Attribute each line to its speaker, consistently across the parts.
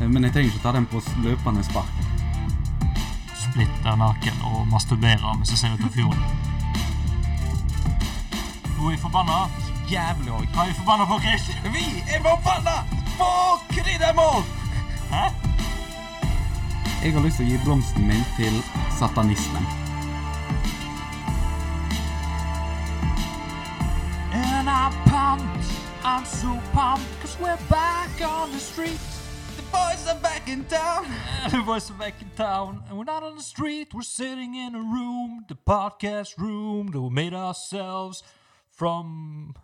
Speaker 1: Eh, Men jeg trenger ikke ta den på s- løpende spark.
Speaker 2: splitter naken og masturberer mens jeg ser ut av fjorden. Nå er jeg forbanna.
Speaker 3: Jævlig òg.
Speaker 2: Hva er jeg forbanna på, Chris?
Speaker 3: Vi er forbanna på kryddermål!
Speaker 2: Hæ?
Speaker 1: Jeg har lyst til å gi blomsten min til satanismen.
Speaker 3: And I'm pumped. I'm so pumped because we're back on the street. The boys are back in town.
Speaker 2: The voice of back in town, and we're not on the street, we're sitting in a room, the podcast room that we made ourselves from.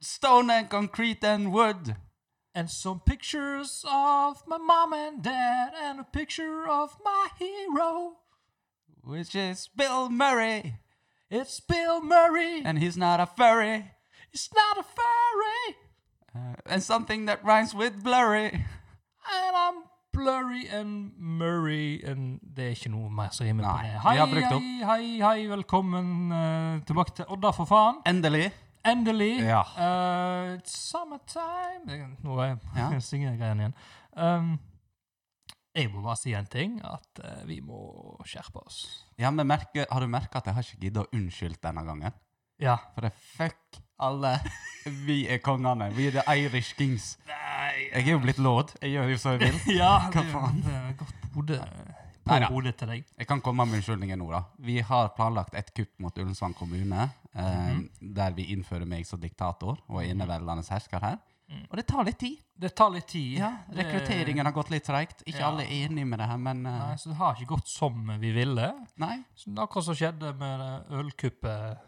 Speaker 3: Stone and concrete and wood.
Speaker 2: And some pictures of my mom and dad, and a picture of my hero.
Speaker 3: Which is Bill Murray.
Speaker 2: It's Bill Murray,
Speaker 3: And he's not a furry.
Speaker 2: it's not a fairy,
Speaker 3: And something that rhymes with blurry.
Speaker 2: and I'm blurry and Murray, and det er ikke noe mer som er med på
Speaker 3: Nei,
Speaker 2: det.
Speaker 3: vi har brukt opp.
Speaker 2: hei, hei, hei, velkommen eh, tilbake til Odda, for faen.
Speaker 3: Endelig.
Speaker 2: Endelig.
Speaker 3: Ja.
Speaker 2: Eh, it's summertime Jeg- Nå var jeg
Speaker 3: Ja.
Speaker 2: jeg synger greien igjen. Um, jeg må bare si en ting, at eh, vi må skjerpe oss.
Speaker 3: Ja, men merke, Har du merka at jeg har ikke giddet å unnskylde denne gangen?
Speaker 2: Ja.
Speaker 3: For det er fuck alle. Vi er kongene. Vi er the Irish kings.
Speaker 2: Nei
Speaker 3: Jeg er jo blitt lord. Jeg gjør jo som jeg vil.
Speaker 2: Ja,
Speaker 3: Hva faen?
Speaker 2: Det er godt hode på
Speaker 3: Neida.
Speaker 2: hodet til deg.
Speaker 3: Jeg kan komme med unnskyldninger nå, da. Vi har planlagt et kupp mot Ullensvang kommune, eh, der vi innfører meg som diktator og eneveldende hersker her. Og det tar litt tid.
Speaker 2: Det tar litt tid.
Speaker 3: Mm. Ja,
Speaker 2: Det-
Speaker 3: Rekrutteringen har gått litt treigt. Ikke
Speaker 2: Eh, Ja.
Speaker 3: alle er enige med det her, men eh,
Speaker 2: Nei, så det har ikke gått som vi ville.
Speaker 3: nei.
Speaker 2: Så det er akkurat som skjedde med det ølkuppet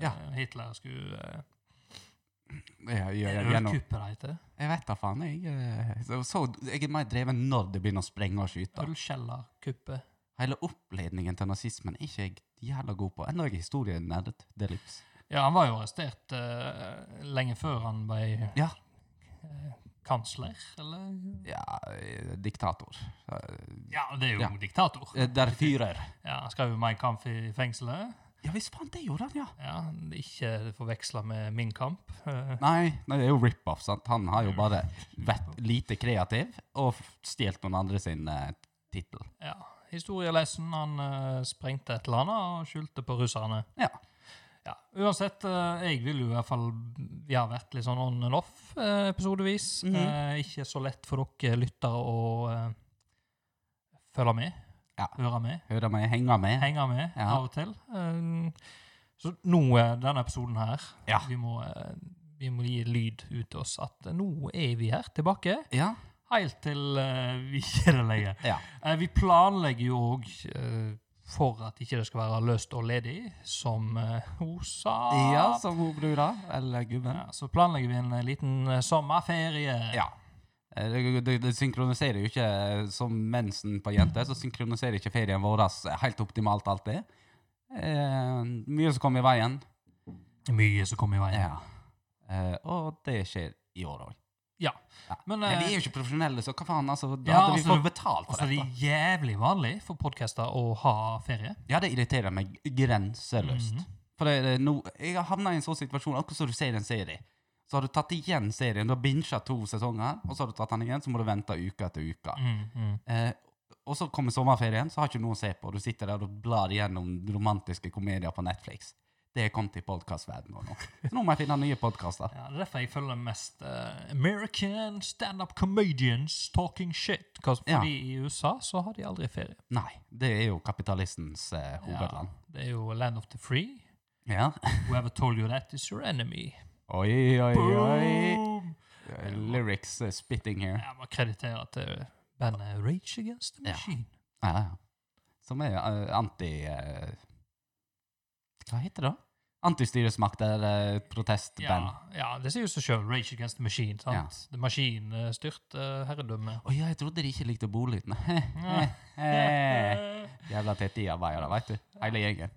Speaker 3: Ja.
Speaker 2: eh, Hitler skulle eh,
Speaker 3: Jeg, jeg, jeg, gjennom.
Speaker 2: Ølkuppet, det heter.
Speaker 3: jeg vet da faen. Jeg, eh, så, så, jeg er mer dreven når det begynner å sprenge og skyte.
Speaker 2: Ølkjellerkuppet.
Speaker 3: Hele oppledningen til nazismen er ikke jeg jævla god på. Enda jeg er historienerd. Det livs.
Speaker 2: Ja, han var jo arrestert eh, lenge før han ble
Speaker 3: Ja.
Speaker 2: eh, kansler, eller?
Speaker 3: Ja, eh, diktator. Eh,
Speaker 2: Ja, det er jo
Speaker 3: Ja. Eh.
Speaker 2: diktator.
Speaker 3: Der fyrer.
Speaker 2: Ja, han skrev jo Mein Kampf i fengselet.
Speaker 3: Ja visst faen, det gjorde han, ja.
Speaker 2: Ja, Ikke forveksla med Min kamp. Eh,
Speaker 3: Nei, nei, det er jo rip-off. sant? Han har jo bare vært lite kreativ og f- stjålet noen andre sin eh, tittel.
Speaker 2: ja. Historielesen, han eh, sprengte et eller annet og skyldte på russerne.
Speaker 3: Ja.
Speaker 2: Ja, Uansett, eh, jeg vil jo i hvert fall Vi har vært litt sånn on and off eh, episodevis.
Speaker 3: Mhm.
Speaker 2: Eh, ikke så lett for dere lyttere å eh, følge med.
Speaker 3: Ja.
Speaker 2: Høre med.
Speaker 3: Hører meg henge med.
Speaker 2: henge med
Speaker 3: Ja.
Speaker 2: av og til. Eh, Så nå, eh, denne episoden her,
Speaker 3: Ja.
Speaker 2: vi, må, eh, vi må gi lyd ut til oss at eh, nå er vi her tilbake,
Speaker 3: Ja.
Speaker 2: helt til eh, vi ikke er det lenger.
Speaker 3: ja.
Speaker 2: Eh, Vi planlegger jo òg for at ikke det skal være løst og ledig, som eh, hun sa.
Speaker 3: Ja, som hun brura. Eller gubben.
Speaker 2: Ja, så planlegger vi en eh, liten eh, sommerferie.
Speaker 3: Ja. Eh, Det, det, det synkroniserer jo ikke eh, som mensen på jenter, så synkroniserer ikke ferien vår helt optimalt alltid. Eh, mye som kommer i veien.
Speaker 2: Mye som kommer i veien.
Speaker 3: Ja. Eh, og det skjer i år òg.
Speaker 2: Ja.
Speaker 3: Ja.
Speaker 2: Men,
Speaker 3: Men vi
Speaker 2: eh,
Speaker 3: er jo ikke profesjonelle, så hva faen? altså, Da
Speaker 2: Ja,
Speaker 3: hadde vi
Speaker 2: altså,
Speaker 3: fått betalt for
Speaker 2: altså, det
Speaker 3: dette.
Speaker 2: er jævlig vanlig for podcaster å ha ferie.
Speaker 3: Ja, det irriterer meg grenseløst.
Speaker 2: Mhm.
Speaker 3: For det, det, er no, jeg har havna i en sånn situasjon, akkurat som du ser en serie. Så har du tatt igjen serien, du har binget to sesonger, og så har du tatt den igjen, så må du vente uke etter uke.
Speaker 2: Mm, mm.
Speaker 3: Eh, og så kommer sommerferien, så har ikke noe å se på. Du sitter der og blar gjennom romantiske komedier på Netflix. Det er kommet i podkastverdenen nå. Så nå må jeg finne nye podkaster.
Speaker 2: Ja, det er derfor jeg følger mest eh, American stand-up comedians talking shit. 'Cause
Speaker 3: Ja.
Speaker 2: Fordi i USA så har de aldri ferie.
Speaker 3: Nei, det er jo kapitalistens eh, hovedland.
Speaker 2: Det er jo land of the free.
Speaker 3: Ja.
Speaker 2: Whoever told you that is your enemy.
Speaker 3: Oi, oi, oi.
Speaker 2: Boom!
Speaker 3: Lyrics eh, spitting here.
Speaker 2: Ja, man krediterer til bandet Rage Against the
Speaker 3: Ja.
Speaker 2: Machine.
Speaker 3: Ja, ja. Som er eh, anti... eh, hva heter det da? Antistyresmakt eller protestband.
Speaker 2: Ja, ja, det sier jo seg sjøl. Rage Against the Machine. sant?
Speaker 3: Ja.
Speaker 2: The Machine eh, styrt uh, herredømme.
Speaker 3: Å ja, jeg trodde de ikke likte bolyden.
Speaker 2: Ja. Eh,
Speaker 3: Jævla tette i arbeidere, vet du. Hele gjengen.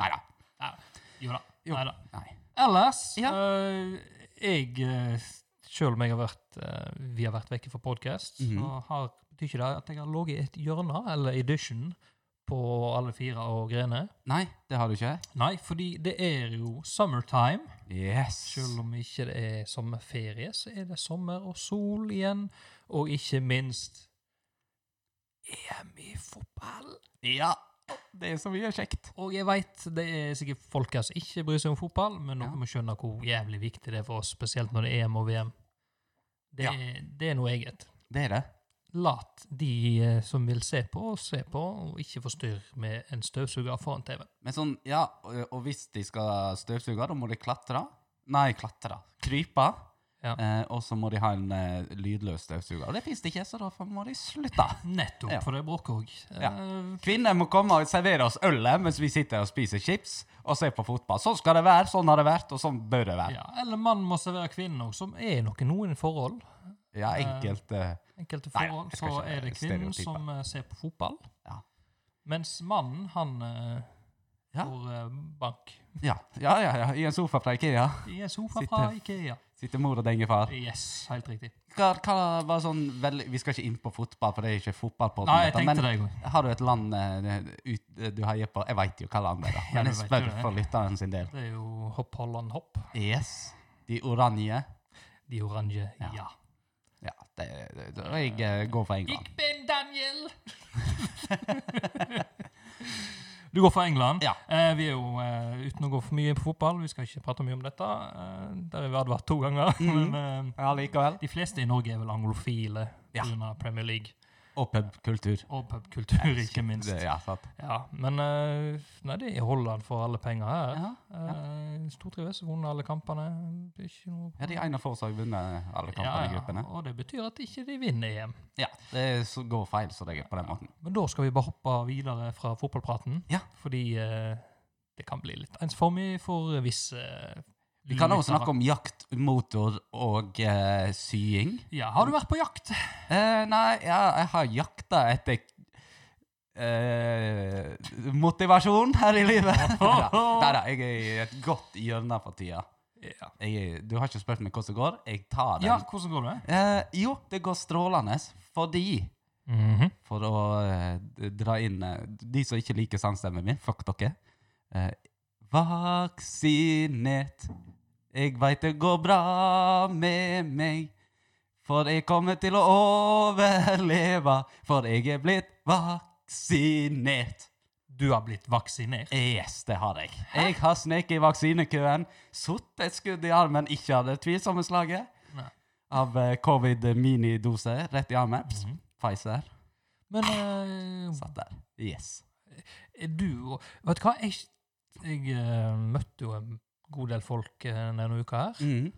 Speaker 3: Nei da.
Speaker 2: ja. Jo da.
Speaker 3: Jo.
Speaker 2: Neida.
Speaker 3: Nei.
Speaker 2: Ellers
Speaker 3: Ja.
Speaker 2: eh, Jeg eh, Selv om jeg har vært eh, vi har vært vekke fra podkast, så
Speaker 3: Mhm.
Speaker 2: har, betyr ikke det at jeg har ligget i et hjørne eller edition på alle fire og grene.
Speaker 3: Nei, det har du ikke.
Speaker 2: Nei, fordi det er jo summertime.
Speaker 3: Yes.
Speaker 2: Selv om ikke det er sommerferie, så er det sommer og sol igjen. Og ikke minst EM i fotball.
Speaker 3: Ja. Det er så mye kjekt.
Speaker 2: Og jeg veit det er sikkert folk her som ikke bryr seg om fotball, men dere
Speaker 3: Ja.
Speaker 2: må skjønne hvor jævlig viktig det er for oss, spesielt når det er EM og VM. Det,
Speaker 3: Ja.
Speaker 2: er- det er noe eget.
Speaker 3: Det er det.
Speaker 2: Lat de eh, som vil se på, se på, og ikke forstyrr med en støvsuger foran TV-en.
Speaker 3: Men sånn, ja, og, og hvis de skal støvsuge, da må de klatre. Nei, klatre. Krype.
Speaker 2: Ja.
Speaker 3: Eh, og så må de ha en eh, lydløs støvsuger. Og det fins det ikke, så da må de slutte.
Speaker 2: Nettopp,
Speaker 3: Ja.
Speaker 2: for det Eh, er bråk òg.
Speaker 3: Ja. Kvinner må komme og servere oss ølet mens vi sitter og spiser chips og ser på fotball. Sånn skal det være, sånn har det vært, og sånn bør det være.
Speaker 2: Ja, eller mannen må servere kvinnen òg, som er nok i noen forhold.
Speaker 3: Ja, enkelt eh,
Speaker 2: Enkelte
Speaker 3: Nei,
Speaker 2: forhold
Speaker 3: jeg skal
Speaker 2: så
Speaker 3: ikke
Speaker 2: er det kvinnen
Speaker 3: stereotype.
Speaker 2: som eh, ser på fotball,
Speaker 3: Ja.
Speaker 2: mens mannen, han eh,
Speaker 3: Ja.
Speaker 2: får eh, bank.
Speaker 3: ja. ja, ja, ja. I en sofa fra Ikea.
Speaker 2: I en sofa
Speaker 3: Sitter-
Speaker 2: fra Ikea.
Speaker 3: Sitter mor og denger far.
Speaker 2: Yes, helt riktig.
Speaker 3: Hva, hva var sånn veldig Vi skal ikke inn på fotball, for det er ikke fotballpodden.
Speaker 2: Nei, jeg
Speaker 3: dette,
Speaker 2: tenkte det i går.
Speaker 3: Har du et land eh, ut, du heier på Jeg veit jo hva land det er, da.
Speaker 2: Ja,
Speaker 3: Men
Speaker 2: du
Speaker 3: jeg
Speaker 2: vet
Speaker 3: spør
Speaker 2: jo det.
Speaker 3: for lytteren sin del.
Speaker 2: Det er jo hopp Holland hopp.
Speaker 3: Yes. De oranje.
Speaker 2: De oransje, ja.
Speaker 3: Ja. Ja, det, det, det, jeg eh, går for England.
Speaker 2: Gikk Ben Daniel! du går for England.
Speaker 3: Ja.
Speaker 2: Eh, vi er jo, eh, uten å gå for mye inn på fotball, vi skal ikke prate mye om dette. Eh, der har vi advart to ganger.
Speaker 3: Mhm.
Speaker 2: Men eh,
Speaker 3: Ja, likevel.
Speaker 2: de fleste i Norge er vel anglofile
Speaker 3: Ja.
Speaker 2: pga. Premier League
Speaker 3: Og pubkultur.
Speaker 2: og pubkultur, ikke minst.
Speaker 3: Det- Ja, sant.
Speaker 2: Ja, men eh, nei, det er Holland for alle penger her.
Speaker 3: Ja.
Speaker 2: Eh, Stortrives, vunnet alle kampene. Det er ikke noe
Speaker 3: Ja, de ene av få som har vunnet alle kampene
Speaker 2: Ja,
Speaker 3: i
Speaker 2: ja,
Speaker 3: gruppene.
Speaker 2: Og det betyr at ikke de vinner EM.
Speaker 3: Ja, det er så går feil så det er på den måten.
Speaker 2: Men da skal vi bare hoppe videre fra fotballpraten.
Speaker 3: Ja.
Speaker 2: Fordi eh, det kan bli litt ensformig for visse uh,
Speaker 3: Vi kan også snakke om jakt, motor og eh, sying.
Speaker 2: Ja, har du vært på jakt?
Speaker 3: Eh, nei, ja, jeg har jakta etter eh, motivasjon her i livet. Nei da, jeg er i et godt hjørne for tida.
Speaker 2: Ja.
Speaker 3: Jeg, er- du har ikke spurt meg hvordan det går. Jeg tar den.
Speaker 2: ja, hvordan går det?
Speaker 3: Eh, jo, det går strålende fordi
Speaker 2: Mhm.
Speaker 3: For å eh, dra inn eh, De som ikke liker sangstemmen min, fuck dere. Eh, vaksinert, jeg veit det går bra med meg. For jeg kommer til å overleve, for jeg er blitt vaksinert.
Speaker 2: Du har blitt vaksinert.
Speaker 3: Yes, det har jeg. Jeg har sneket i vaksinekøen, satt et skudd i armen, ikke av det tvilsomme slaget,
Speaker 2: Nei.
Speaker 3: av eh, covid-minidose rett i armen. Pss,
Speaker 2: Mhm.
Speaker 3: Pfizer.
Speaker 2: Men eh,
Speaker 3: Satt der. Yes.
Speaker 2: er du og Vet du hva, jeg, jeg eh, møtte jo en god del folk eh, denne uka her,
Speaker 3: Mhm.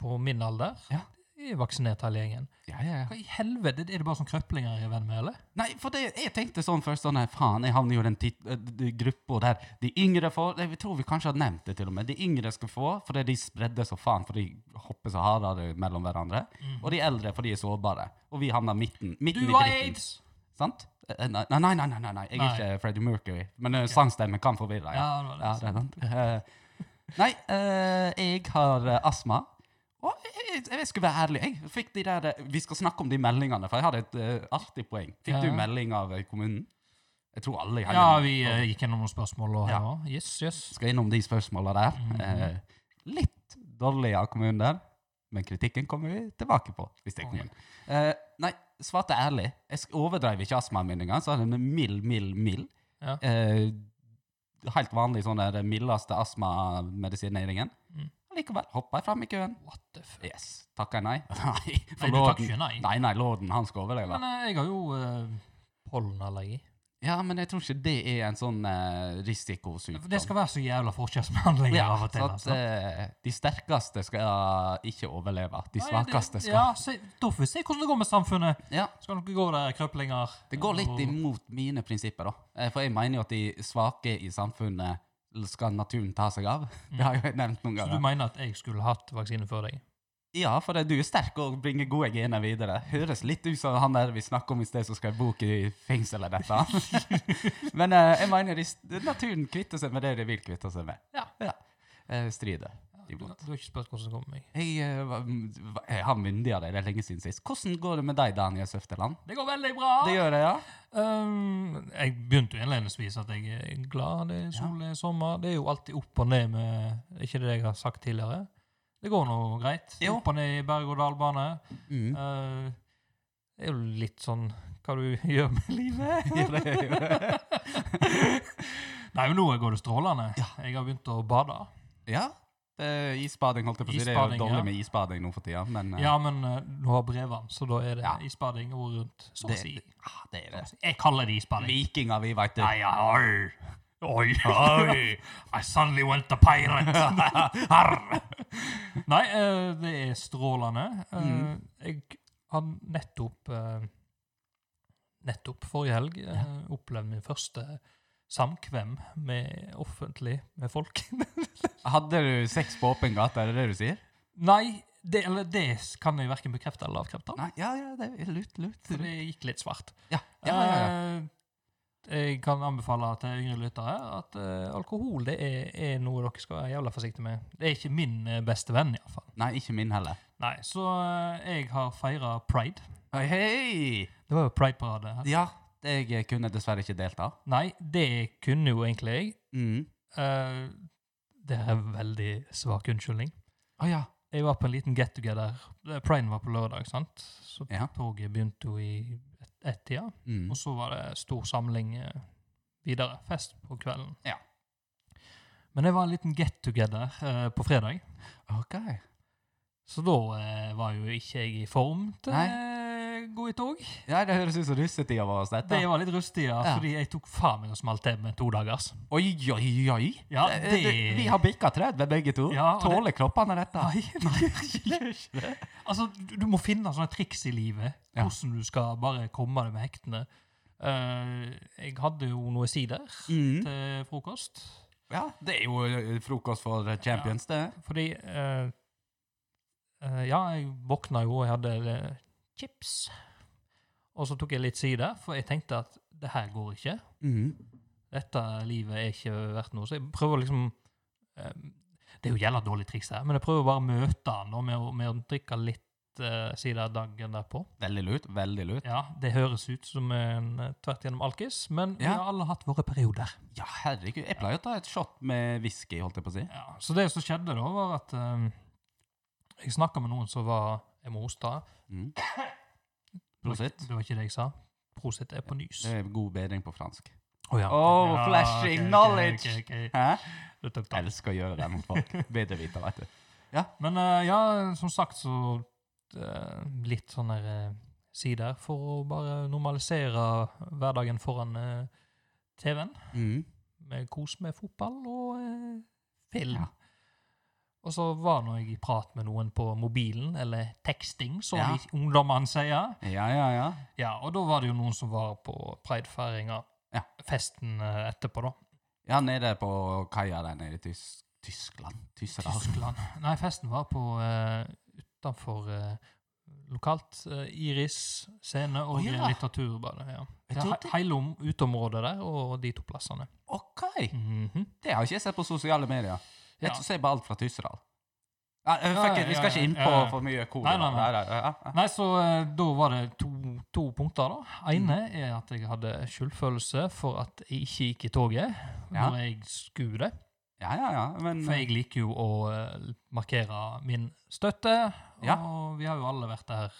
Speaker 2: på min alder.
Speaker 3: Ja.
Speaker 2: De er vaksinert hele gjengen.
Speaker 3: Ja, ja, ja.
Speaker 2: Hva i helvete, er det bare sånn krøplinger jeg er venn med, eller?
Speaker 3: Nei, for det, jeg tenkte sånn først sånn, nei, faen, jeg havner jo i den tit- eh, d- gruppa der de yngre får Jeg tror vi kanskje har nevnt det, til og med. De yngre skal få fordi de spredde så faen, for de hopper så hardere mellom hverandre. Og de eldre fordi de er sårbare. Og vi havner midten. midten
Speaker 2: Mhm. Du
Speaker 3: i
Speaker 2: har
Speaker 3: dritten.
Speaker 2: aids!
Speaker 3: Sant? Eh, Nei, nei, nei, nei, nei, nei. jeg er
Speaker 2: Nei.
Speaker 3: ikke Freddie Mercury. Men eh, sangstemmen kan forvirre.
Speaker 2: Ja, det var det.
Speaker 3: Ja, det er sant. Eh, nei, eh, jeg har eh, astma. Og jeg, jeg, jeg skulle være ærlig. Jeg fikk de der, eh, vi skal snakke om de meldingene, for jeg hadde et eh, artig poeng. Fikk
Speaker 2: Ja.
Speaker 3: du melding av eh, kommunen? Jeg tror alle i
Speaker 2: Ja,
Speaker 3: helgen-
Speaker 2: vi eh, gikk gjennom noen spørsmål og
Speaker 3: Ja.
Speaker 2: her òg. Yes, yes. Mm,
Speaker 3: skal innom de spørsmåla der.
Speaker 1: Mm.
Speaker 3: Eh, litt dårlig av kommunen der, men kritikken kommer vi tilbake på. hvis det er
Speaker 2: Å,
Speaker 3: kommunen. Eh, nei, svarte ærlig. Jeg sk- overdrev ikke astmaen min engang. Så hadde den mild, mild, mild.
Speaker 2: Ja.
Speaker 3: Eh, helt vanlig sånn der mildeste astmamedisineringen.
Speaker 2: Mm.
Speaker 3: Likevel hoppa jeg fram i køen.
Speaker 2: What the f...
Speaker 3: Yes. Takka jeg nei? Nei, for
Speaker 2: Nei, du takk
Speaker 3: lorden.
Speaker 2: ikke nei.
Speaker 3: Nei, nei, lorden, han skal overleve.
Speaker 2: Men eh, jeg har jo eh, pollenallergi.
Speaker 3: Ja, men jeg tror ikke det er en sånn eh, risikosykdom.
Speaker 2: Det skal være så jævla forskjellsbehandling
Speaker 3: Ja,
Speaker 2: av og til.
Speaker 3: så at,
Speaker 2: altså.
Speaker 3: eh, de sterkeste skal ikke overleve. De
Speaker 2: Nei,
Speaker 3: svakeste
Speaker 2: det-
Speaker 3: skal
Speaker 2: Ja, se, Da får vi se hvordan det går med samfunnet.
Speaker 3: Ja.
Speaker 2: Skal dere gå der, krøplinger?
Speaker 3: Det går litt
Speaker 2: Og-
Speaker 3: imot mine prinsipper, da. Eh, For jeg mener jo at de svake i samfunnet skal naturen ta seg av. Det har jo jeg nevnt noen
Speaker 2: Så du
Speaker 3: ganger.
Speaker 2: mener at jeg skulle hatt vaksine før deg?
Speaker 3: Ja, for det- du er sterk og bringer gode gener videre. Høres litt ut som han der vi snakket om i sted, som skrev bok i fengselet, dette. Men eh, jeg mener de, s- naturen kvitter seg med det de vil kvitte seg med.
Speaker 2: Ja.
Speaker 3: Eh, strider
Speaker 2: Du,
Speaker 3: imot.
Speaker 2: du har ikke spurt hvordan det går med meg.
Speaker 3: Jeg, eh, var- var- jeg har myndig av deg, det er lenge siden sist. Hvordan går det med deg, Daniel Søfteland?
Speaker 2: Det går veldig bra!
Speaker 3: Det gjør jeg, ja.
Speaker 2: Um, jeg begynte jo innledningsvis at jeg er glad det er sol, det er sommer. Det er jo alltid opp og ned med Ikke det jeg har sagt tidligere. Det går nå greit.
Speaker 3: Jo.
Speaker 2: Opp og ned i berg-og-dal-bane.
Speaker 3: Mm.
Speaker 2: Uh, Det er jo litt sånn hva du gjør med livet. Nei, men nå går det strålende. Jeg har begynt å bade.
Speaker 3: Ja. Det er isbading, holdt jeg på å si. Altså, Det er
Speaker 2: Isbading,
Speaker 3: jo dårlig
Speaker 2: ja.
Speaker 3: med isbading nå for tida, men eh,
Speaker 2: Ja, men eh, nå har Brevan, så da er det
Speaker 3: Ja.
Speaker 2: isbading året rundt. Så å
Speaker 3: det,
Speaker 2: si. Altså,
Speaker 3: ah, det er det.
Speaker 2: Jeg kaller det isbading.
Speaker 3: Vikinger, vi, veit du.
Speaker 2: Nei, ja, oi. Oi, oi. I suddenly went a pirate. Arr. Nei, eh, det er strålende. Eh, Jeg har nettopp eh, Nettopp forrige helg eh, opplevd min første samkvem med offentlig med folk.
Speaker 3: Hadde du sex på åpen gate, er det det du sier?
Speaker 2: Nei, det, eller det kan jeg verken bekrefte eller avkrefte.
Speaker 3: Nei, ja, ja, det er lut, lut.
Speaker 2: For det gikk litt svart.
Speaker 3: Ja, ja, ja, ja.
Speaker 2: Eh, Jeg kan anbefale til yngre lyttere at eh, alkohol det er, er noe dere skal være jævla forsiktige med. Det er ikke min eh, beste venn, iallfall.
Speaker 3: Nei, ikke min heller.
Speaker 2: Nei, så eh, jeg har feira pride.
Speaker 3: Hei, Hei!
Speaker 2: Det var jo prideparade. her.
Speaker 3: Ja, jeg kunne dessverre ikke delta.
Speaker 2: Nei, det kunne jo egentlig jeg.
Speaker 3: Mm.
Speaker 2: Eh, Det er en veldig svak unnskyldning.
Speaker 3: Å ja.
Speaker 2: Jeg var på en liten get together. Eh, Priden var på lørdag, sant? Så
Speaker 3: Ja.
Speaker 2: toget begynte jo i ett- ett-tida.
Speaker 3: Mm.
Speaker 2: Og så var det stor samling eh, videre. Fest på kvelden.
Speaker 3: Ja.
Speaker 2: Men det var en liten get together eh, på fredag.
Speaker 3: Ok.
Speaker 2: Så da eh, var jo ikke jeg i form til
Speaker 3: Nei.
Speaker 2: eh, gå i tog.
Speaker 3: Ja, det høres ut som russetida vår. dette.
Speaker 2: Det var litt rustig, ja,
Speaker 3: Ja.
Speaker 2: fordi jeg tok faen meg og smalt til med to dagers.
Speaker 3: Oi, oi, oi!
Speaker 2: Ja,
Speaker 3: Eh,
Speaker 2: det-
Speaker 3: Vi har bikka 30 begge to.
Speaker 2: Ja, og det-
Speaker 3: Tåler kroppene dette?
Speaker 2: Nei, altså, du, du må finne sånne triks i livet.
Speaker 3: Ja.
Speaker 2: Hvordan du skal bare komme deg med hektene. Eh, jeg hadde jo noe sider
Speaker 3: Mm.
Speaker 2: til frokost.
Speaker 3: Ja, det er jo eh, frokost for eh, champions, det.
Speaker 2: Fordi eh, eh, Ja, jeg våkna jo, og jeg hadde eh, chips. Og så tok jeg litt side, for jeg tenkte at det her går ikke.
Speaker 3: Mm.
Speaker 2: Dette livet er ikke verdt noe. Så jeg prøver liksom eh, Det er jo jævla dårlig triks her, men jeg prøver bare å møte han nå med, å- med å drikke litt uh, sider dagen derpå.
Speaker 3: Veldig lurt. Veldig lurt.
Speaker 2: Ja, det høres ut som en eh, tvert gjennom alkis, men vi
Speaker 3: Ja.
Speaker 2: har alle hatt våre perioder.
Speaker 3: Ja, herregud. Jeg pleier å ta et shot med whisky, holdt jeg på å si.
Speaker 2: Ja, så det som skjedde da, var at eh, jeg snakka med noen som var Jeg må hoste.
Speaker 3: Mm.
Speaker 2: Det var ikke-
Speaker 3: Prosit.
Speaker 2: Det var ikke det jeg sa. Prosit er på nys.
Speaker 3: Det er god bedring på fransk.
Speaker 2: Å ja.
Speaker 3: Oh,
Speaker 2: Ja,
Speaker 3: flashing
Speaker 2: ok, ok,
Speaker 3: knowledge.
Speaker 2: ok, ok.
Speaker 3: Hæ?
Speaker 2: Det tok
Speaker 3: Jeg
Speaker 2: tak.
Speaker 3: elsker å gjøre det mot folk. Bedre vite, vet du.
Speaker 2: Men eh, ja, som sagt så eh, litt sånne uh, sider for å bare normalisere hverdagen foran eh, TV-en.
Speaker 3: Mm.
Speaker 2: Med kos med fotball og eh, film.
Speaker 3: Ja.
Speaker 2: Og så var nå jeg i prat med noen på mobilen, eller teksting, som
Speaker 3: Ja.
Speaker 2: de ungdommene sier.
Speaker 3: Ja, ja, ja.
Speaker 2: Ja, og da var det jo noen som var på pridefeiringa.
Speaker 3: Ja.
Speaker 2: Festen eh, etterpå, da.
Speaker 3: Ja, nede på kaia der nede i Tys Tyskland. Tyskland.
Speaker 2: Tyskland. Nei, festen var på eh, utenfor eh, lokalt eh, Iris scene og
Speaker 3: Å, ja.
Speaker 2: litteraturbadet. Ja. Det
Speaker 3: Jeg
Speaker 2: er
Speaker 3: trodde-
Speaker 2: he- hele om, uteområdet der og de to plassene.
Speaker 3: OK!
Speaker 2: Mhm.
Speaker 3: Det har ikke jeg sett på sosiale medier. Jeg
Speaker 2: Ja.
Speaker 3: ser bare alt fra Tyssedal. Ja, eh, fuck
Speaker 2: Ja,
Speaker 3: it, vi
Speaker 2: ja,
Speaker 3: skal ikke
Speaker 2: ja,
Speaker 3: inn på
Speaker 2: ja, ja.
Speaker 3: for mye kode.
Speaker 2: Nei, nei, nei.
Speaker 3: ja, ja.
Speaker 2: Nei, så eh, da var det to, to punkter, da. Ene
Speaker 3: Mm.
Speaker 2: er at jeg hadde skyldfølelse for at jeg ikke gikk i toget
Speaker 3: Ja.
Speaker 2: når jeg skulle det.
Speaker 3: ja, ja, ja. Men
Speaker 2: For jeg liker jo å eh, markere min støtte, og vi har jo alle vært der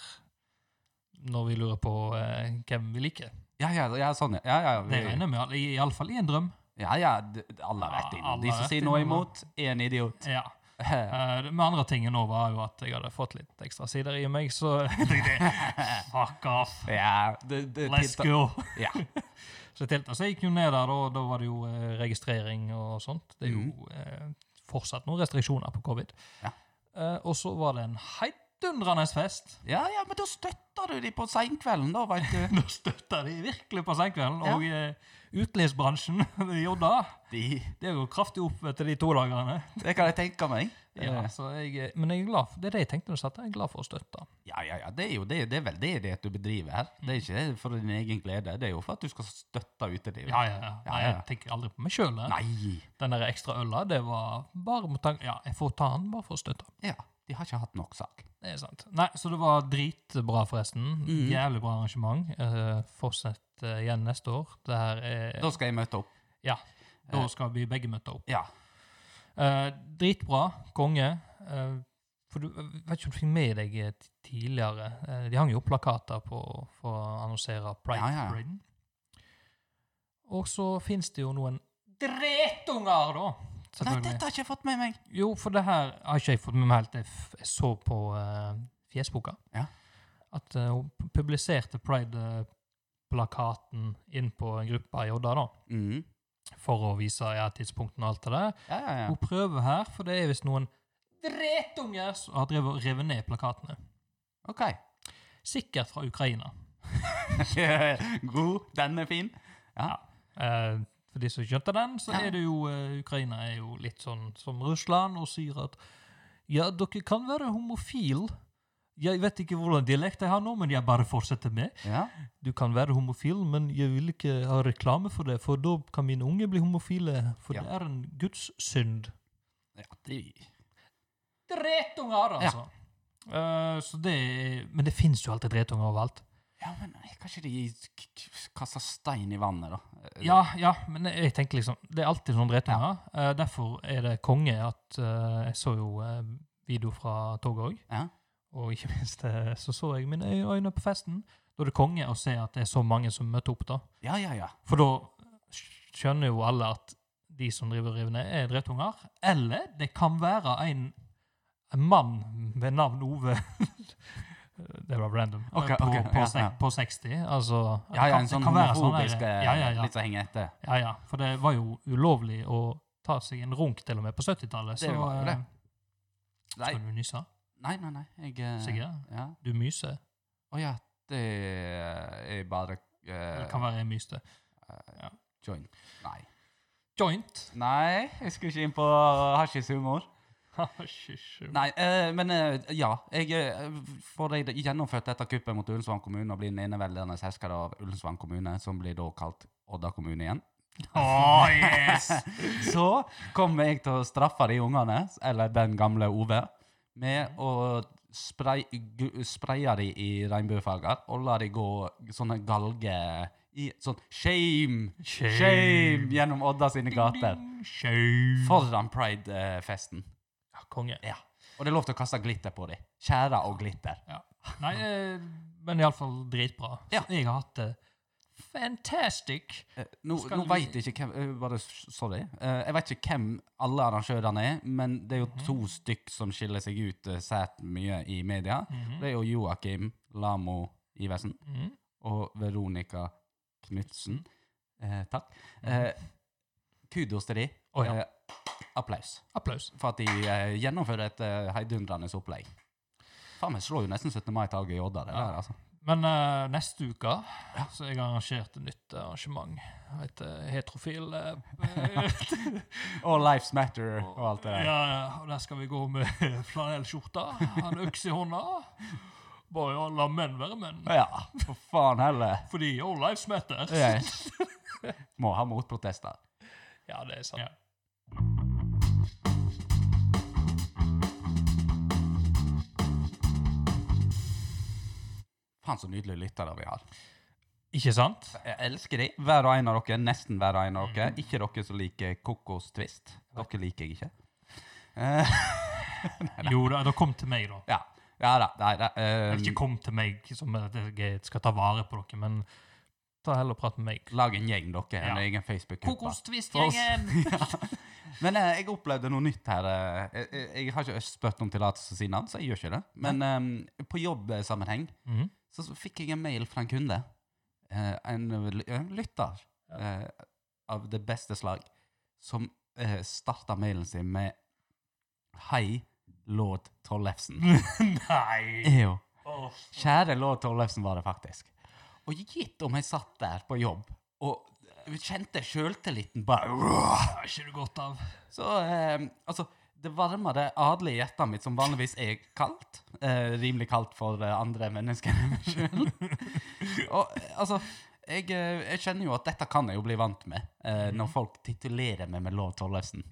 Speaker 2: når vi lurer på eh, hvem vi liker.
Speaker 3: ja, ja, ja, sånn, ja. ja, ja,
Speaker 2: Det
Speaker 3: vi,
Speaker 2: regner jeg med, alle- i- i alle fall i en drøm.
Speaker 3: ja, ja d- alle har
Speaker 2: Ja,
Speaker 3: vært
Speaker 2: alle
Speaker 3: innom. De
Speaker 2: har
Speaker 3: som
Speaker 2: vært
Speaker 3: sier noe
Speaker 2: innom.
Speaker 3: imot, er en idiot.
Speaker 2: Ja.
Speaker 3: Ja,
Speaker 2: Eh, det- Med andre tingen nå var jo at jeg hadde fått litt ekstra sider i meg, så Fuck off.
Speaker 3: det, det,
Speaker 2: Let's
Speaker 3: tilta-
Speaker 2: go.
Speaker 3: Ja.
Speaker 2: Så, til, så jeg gikk jo ned der, og da var det jo eh, registrering og sånt. Det er jo eh, fortsatt noen restriksjoner på covid.
Speaker 3: Mm. Ja.
Speaker 2: Eh, og så var det en heidundrende fest.
Speaker 3: ja, ja, men da støtter du de på seinkvelden, da, veit du.
Speaker 2: Da støtta de virkelig på senkvelden. Og eh, utelivsbransjen, Jodda,
Speaker 3: De,
Speaker 2: det går kraftig opp etter de to dagene.
Speaker 3: det kan jeg tenke meg.
Speaker 2: Ja, så jeg, eh, men jeg er glad for, det er det jeg tenkte da jeg satt der. Jeg er glad for å støtte.
Speaker 3: Ja, ja, ja. Det er jo det, det er veldedighet du bedriver her. Det er ikke for din egen glede, det er jo for at du skal støtte utelivet.
Speaker 2: Ja, ja, ja. Nei,
Speaker 3: ja.
Speaker 2: jeg tenker aldri på meg sjøl.
Speaker 3: Nei!
Speaker 2: Den der ekstra øla, det var bare mot tanke Ja, jeg får ta den bare for å støtte.
Speaker 3: Ja, de har ikke hatt nok sak.
Speaker 2: Det er sant. Nei, så det var dritbra, forresten.
Speaker 3: Mhm.
Speaker 2: Jævlig bra arrangement. Eh, fortsett eh, igjen neste år. Det her er
Speaker 3: Da skal jeg møte opp.
Speaker 2: Ja. Da skal vi begge møte opp.
Speaker 3: Ja.
Speaker 2: Eh, dritbra. Konge. Eh, For du jeg vet ikke om du fikk med deg eh, ti- tidligere eh, De hang jo opp plakater på, for å annonsere
Speaker 3: Ja, ja.
Speaker 2: Pride-paraden. Og så fins det jo noen dretunger, da!
Speaker 3: Nei,
Speaker 2: selvfølgelig.
Speaker 3: dette har ikke jeg fått med meg.
Speaker 2: Jo, for det her har ikke jeg fått med meg helt. Jeg, f jeg så på eh, Fjesboka
Speaker 3: Ja.
Speaker 2: at eh, hun pu- publiserte Pride-plakaten inn på en gruppe i Odda, da,
Speaker 3: Mm.
Speaker 2: for å vise ja, tidspunktene og alt det der.
Speaker 3: Ja, ja, ja.
Speaker 2: Hun prøver her, for det er visst noen dretunger som har drevet og revet ned plakatene.
Speaker 3: OK.
Speaker 2: Sikkert fra Ukraina.
Speaker 3: God. Den er fin.
Speaker 2: Eh, for de som ikke skjønte den, så
Speaker 3: Ja.
Speaker 2: er det jo eh, Ukraina er jo litt sånn som Russland og sier at ja, dere kan være homofil. Jeg vet ikke hvordan dialekt jeg har nå, men jeg bare fortsetter med.
Speaker 3: Ja.
Speaker 2: Du kan være homofil, men jeg vil ikke ha reklame for det, for da kan mine unge bli homofile, for
Speaker 3: Ja.
Speaker 2: det er en gudssynd.
Speaker 3: ja de...
Speaker 2: Dretunger, altså! Eh, så det er, men det fins jo alltid dretunger overalt.
Speaker 3: Ja, men nei, kanskje de k- k- kaster stein i vannet, da?
Speaker 2: Ja, ja, men jeg tenker liksom Det er alltid sånn dretunger. Eh, derfor er det konge at eh, Jeg så jo eh, video fra toget òg.
Speaker 3: Ja.
Speaker 2: Og ikke minst eh, så så jeg mine øy- øyne på festen. Da er det konge å se at det er så mange som møter opp, da.
Speaker 3: Ja, ja, ja.
Speaker 2: For da skjønner jo alle at de som driver og river ned, er dretunger. Eller det kan være en, en mann ved navn Ove Det var random. eh,
Speaker 3: Ok,
Speaker 2: på,
Speaker 3: ok,
Speaker 2: på,
Speaker 3: ja,
Speaker 2: sek-
Speaker 3: ja.
Speaker 2: på 60. Altså det
Speaker 3: Ja, ja,
Speaker 2: kan-
Speaker 3: en
Speaker 2: det
Speaker 3: sånn
Speaker 2: kan være sånn
Speaker 3: homofobisk
Speaker 2: der-
Speaker 3: eh,
Speaker 2: ja, ja, ja.
Speaker 3: Litt som henger etter.
Speaker 2: Ja, ja, for det var jo ulovlig å ta seg en runk til og med på 70-tallet.
Speaker 3: Det
Speaker 2: Så
Speaker 3: var jo det.
Speaker 2: eh,
Speaker 3: Nei,
Speaker 2: skal du nyse?
Speaker 3: nei, nei. nei. Jeg eh,
Speaker 2: Sigurd?
Speaker 3: Ja.
Speaker 2: Du myser.
Speaker 3: Å ja, det er bare eh,
Speaker 2: Det kan være jeg myste.
Speaker 3: joint. Nei.
Speaker 2: Joint.
Speaker 3: Nei, jeg skulle ikke inn på hasjishumor.
Speaker 2: Nei.
Speaker 3: Nei, eh, men eh, ja. Jeg eh, får deg gjennomført dette kuppet mot Ullensvang kommune og blir den eneveldende hersker av Ullensvang kommune, som blir da kalt Odda kommune igjen.
Speaker 2: Åh, yes!
Speaker 3: Så kommer jeg til å straffe de ungene, eller den gamle Ove, med å spray, gu- spraye de i regnbuefarger og la de gå sånne galger i sånn shame, shame, gjennom Odda sine gater.
Speaker 2: Shame.
Speaker 3: Foran Pride-festen.
Speaker 2: Ja, konge.
Speaker 3: Ja. Og det er lov til å kaste glitter på dem. Tjære og glitter.
Speaker 2: Ja. Nei, eh, men iallfall dritbra.
Speaker 3: Ja.
Speaker 2: Jeg har hatt det fantastic.
Speaker 3: Eh, Nå,
Speaker 2: Skal
Speaker 3: nå
Speaker 2: vi-
Speaker 3: veit jeg ikke hvem eh, Bare s- sorry. Eh, Jeg veit ikke hvem alle arrangørene er, men det er jo to stykk som skiller seg ut eh, sært mye i media. Det er jo Joakim Lamo Iversen
Speaker 2: Mhm.
Speaker 3: og Veronica Knutsen. Eh, takk. Eh, kudos til de.
Speaker 2: Å, ja.
Speaker 3: eh, applaus
Speaker 2: Applaus.
Speaker 3: for at de eh, gjennomfører et eh, heidundrende opplegg. Faen, vi slår jo nesten 17. mai-taket i Odda. det der, altså.
Speaker 2: Men eh, neste uke så har jeg arrangert et nytt eh, arrangement. Et eh, heterofil eh,
Speaker 3: Og Lives Matter og alt det der.
Speaker 2: Ja, og der skal vi gå med flanellskjorta, en øks i hånda. Bare ja, la menn være menn.
Speaker 3: Ja, for faen heller.
Speaker 2: Fordi all lives matter.
Speaker 3: Yes. Må ha motprotester.
Speaker 2: Ja, det er sant.
Speaker 3: Faen, så nydelige lyttere vi har.
Speaker 2: Ikke sant?
Speaker 3: Jeg elsker de. Hver og en av dere. Nesten hver og en av dere. Ikke dere som liker kokostvist. Dere liker jeg ikke. Eh,
Speaker 2: Jo da, det kom til meg, da.
Speaker 3: ja. ja da. Nei, da. eh,
Speaker 2: Eller ikke kom til meg som at jeg skal ta vare på dere, men ta heller og prat med meg.
Speaker 3: lag en gjeng, dere. En
Speaker 2: Ja.
Speaker 3: egen Facebook-gruppe.
Speaker 2: Kokostvistgjengen!
Speaker 3: Men eh, jeg opplevde noe nytt her. eh. Jeg, jeg, jeg har ikke spurt om tillatelse til å si navn, så jeg gjør ikke det. Men eh, på jobbsammenheng
Speaker 2: Mhm.
Speaker 3: så, så fikk jeg en mail fra en kunde. eh, en, l- en lytter eh, av det beste slag, som uh, starta mailen sin med Hei, lord Tollefsen.
Speaker 2: Nei!
Speaker 3: Jo.
Speaker 2: Åh.
Speaker 3: Kjære lord Tollefsen var det faktisk. Og gitt om jeg satt der på jobb og eh, kjente sjøltilliten bare
Speaker 2: Det er ikke du godt av.
Speaker 3: så eh, altså, det varmere adelige hjertet mitt, som vanligvis er kaldt, eh, rimelig kaldt for eh, andre mennesker enn meg sjøl Og eh, altså jeg, eh, jeg kjenner jo at dette kan jeg jo bli vant med, eh, når folk titulerer meg med Lov Tollefsen.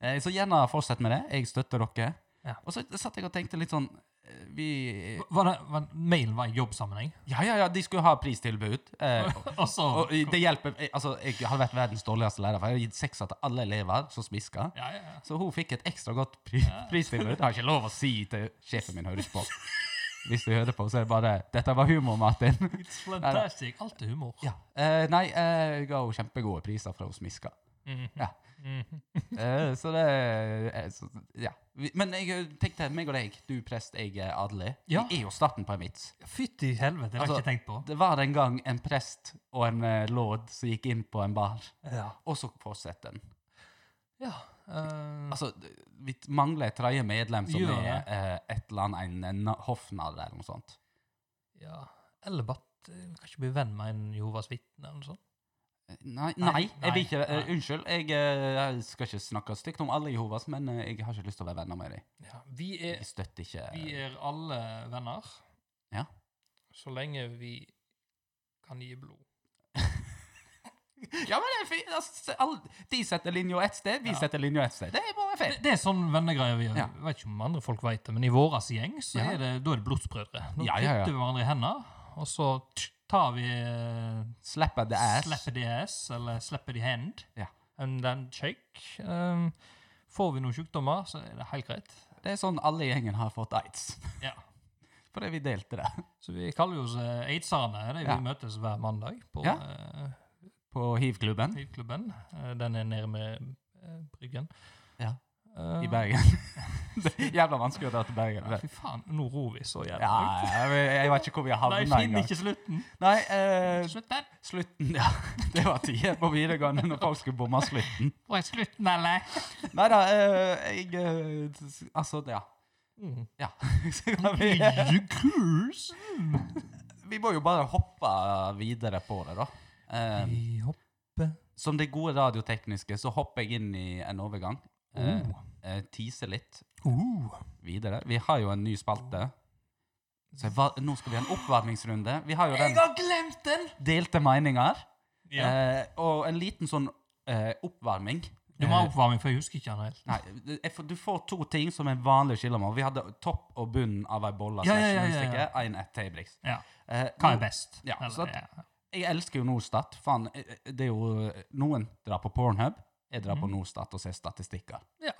Speaker 3: Eh, så gjerne fortsett med det. Jeg støtter dere.
Speaker 2: Ja.
Speaker 3: Og så satt jeg og tenkte litt sånn vi
Speaker 2: Var det, var, mailen var i jobbsammenheng? Altså,
Speaker 3: Ja, ja, ja, de skulle ha pristilbud. Eh,
Speaker 2: Og så
Speaker 3: og det hjelper eh, Altså, jeg har vært verdens dårligste lærer, for jeg har gitt sekser til alle elever som smisker.
Speaker 2: ja, ja, ja.
Speaker 3: Så hun fikk et ekstra godt pri pristilbud. Det har jeg ikke lov å si til sjefen min, høres på. Hvis du hører på, så er det bare Dette var humor, Martin.
Speaker 2: It's fantastic. Alt er humor.
Speaker 3: Ja. Eh, nei, eh, jeg ga henne kjempegode priser fra hun smiska.
Speaker 2: Mhm.
Speaker 3: Ja.
Speaker 2: Mhm.
Speaker 3: Eh, så det eh, så, Ja. Vi, men jeg tenkte, meg og deg, du prest, jeg eh, adelig,
Speaker 2: Ja.
Speaker 3: vi er jo starten på en vits.
Speaker 2: Fytti helvete, det har jeg
Speaker 3: Altså,
Speaker 2: ikke tenkt på.
Speaker 3: Det var en gang en prest og en eh, lord som gikk inn på en bar,
Speaker 2: Ja.
Speaker 3: og så fortsatte den.
Speaker 2: ja. eh,
Speaker 3: Altså, d- vi t- mangler et tredje medlem som
Speaker 2: Gjør
Speaker 3: er
Speaker 2: det.
Speaker 3: eh, et eller annet, en, en na- hoffnarr eller noe sånt.
Speaker 2: ja. Eller bare at, eh, kan ikke bli venn med en Jehovas vitne eller noe sånt.
Speaker 3: Eh, Nei,
Speaker 2: Nei,
Speaker 3: nei, jeg vil ikke,
Speaker 2: nei,
Speaker 3: eh,
Speaker 2: nei.
Speaker 3: unnskyld, jeg, eh, jeg skal ikke snakke stygt om alle Jehovas, men eh, jeg har ikke lyst til å være venner med dem.
Speaker 2: Ja. Vi, er,
Speaker 3: Jeg støtter ikke.
Speaker 2: vi er alle venner.
Speaker 3: Ja.
Speaker 2: Så lenge vi kan gi blod.
Speaker 3: Ja, men det er fint. Altså, se, alle- de setter linja ett sted, vi
Speaker 2: Ja.
Speaker 3: setter linja ett sted. Det er bare fair.
Speaker 2: Det, det er sånn vennegreier vi gjør.
Speaker 3: Ja.
Speaker 2: Jeg vet ikke om andre folk vet det, men i vår gjeng så
Speaker 3: Ja.
Speaker 2: er det, da er det blodsbrødre. Nå
Speaker 3: Ja, ja, ja.
Speaker 2: kutter vi hverandre i hendene, og så tsk, tar vi eh,
Speaker 3: Slapper the ass.
Speaker 2: Slapper the ass, eller slapper the hand.
Speaker 3: Ja.
Speaker 2: And then shake. Um, får vi noen sykdommer, så er det helt greit.
Speaker 3: Det er sånn alle i gjengen har fått aids.
Speaker 2: Ja.
Speaker 3: Fordi vi delte det
Speaker 2: Så vi kaller jo oss eh, aidserne. Det er
Speaker 3: Ja.
Speaker 2: Vi møtes hver mandag på
Speaker 3: Ja.
Speaker 2: eh,
Speaker 3: på hivklubben
Speaker 2: Hivklubben. Eh, den er nede med eh, Bryggen.
Speaker 3: Ja.
Speaker 2: Eh,
Speaker 3: i Bergen. det er jævla vanskelig å dra til Bergen.
Speaker 2: ja, Fy faen, nå ror vi så jævlig.
Speaker 3: Ja, jeg, vet- jeg vet ikke hvor vi har
Speaker 2: Nei,
Speaker 3: havnet
Speaker 2: finn
Speaker 3: engang.
Speaker 2: ikke slutten.
Speaker 3: Nei, eh,
Speaker 2: Slutt den.
Speaker 3: slutten, ja. Det var tida på videregående når folk skulle bomme slutten.
Speaker 2: Hvor er slutten, eller?
Speaker 3: Nei da, eh, jeg eh, s- Altså, ja.
Speaker 2: Mm.
Speaker 3: Ja. Så kan vi, vi må jo bare hoppe videre på det, da. Eh,
Speaker 2: Vi hopper.
Speaker 3: som det gode radiotekniske så hopper jeg inn i en overgang. Eh,
Speaker 2: Oh.
Speaker 3: eh, teaser litt
Speaker 2: Uh.
Speaker 3: videre. Vi har jo en ny spalte. Så jeg var, nå skal vi ha en oppvarmingsrunde. Vi har jo
Speaker 2: Jeg
Speaker 3: den
Speaker 2: har glemt den!
Speaker 3: delte meninger.
Speaker 2: Ja.
Speaker 3: Eh, og en liten sånn eh, oppvarming.
Speaker 2: Du må ha
Speaker 3: Eh,
Speaker 2: oppvarming, for jeg husker ikke den helt.
Speaker 3: Nei, jeg får- du får to ting som er vanlig å skille mellom. Vi hadde topp og bunn av ei bolle.
Speaker 2: Ja, ja, ja, ja, ja.
Speaker 3: Ein ett tebrix.
Speaker 2: Ja.
Speaker 3: Eh,
Speaker 2: Hva er
Speaker 3: nå-
Speaker 2: best?
Speaker 3: Ja,
Speaker 2: Eller,
Speaker 3: sant.
Speaker 2: ja.
Speaker 3: Jeg elsker jo Norstat. Faen, eh, eh, det er jo Noen drar på Pornhub. Jeg drar
Speaker 2: Mhm.
Speaker 3: på Norstat og ser statistikker.
Speaker 2: ja.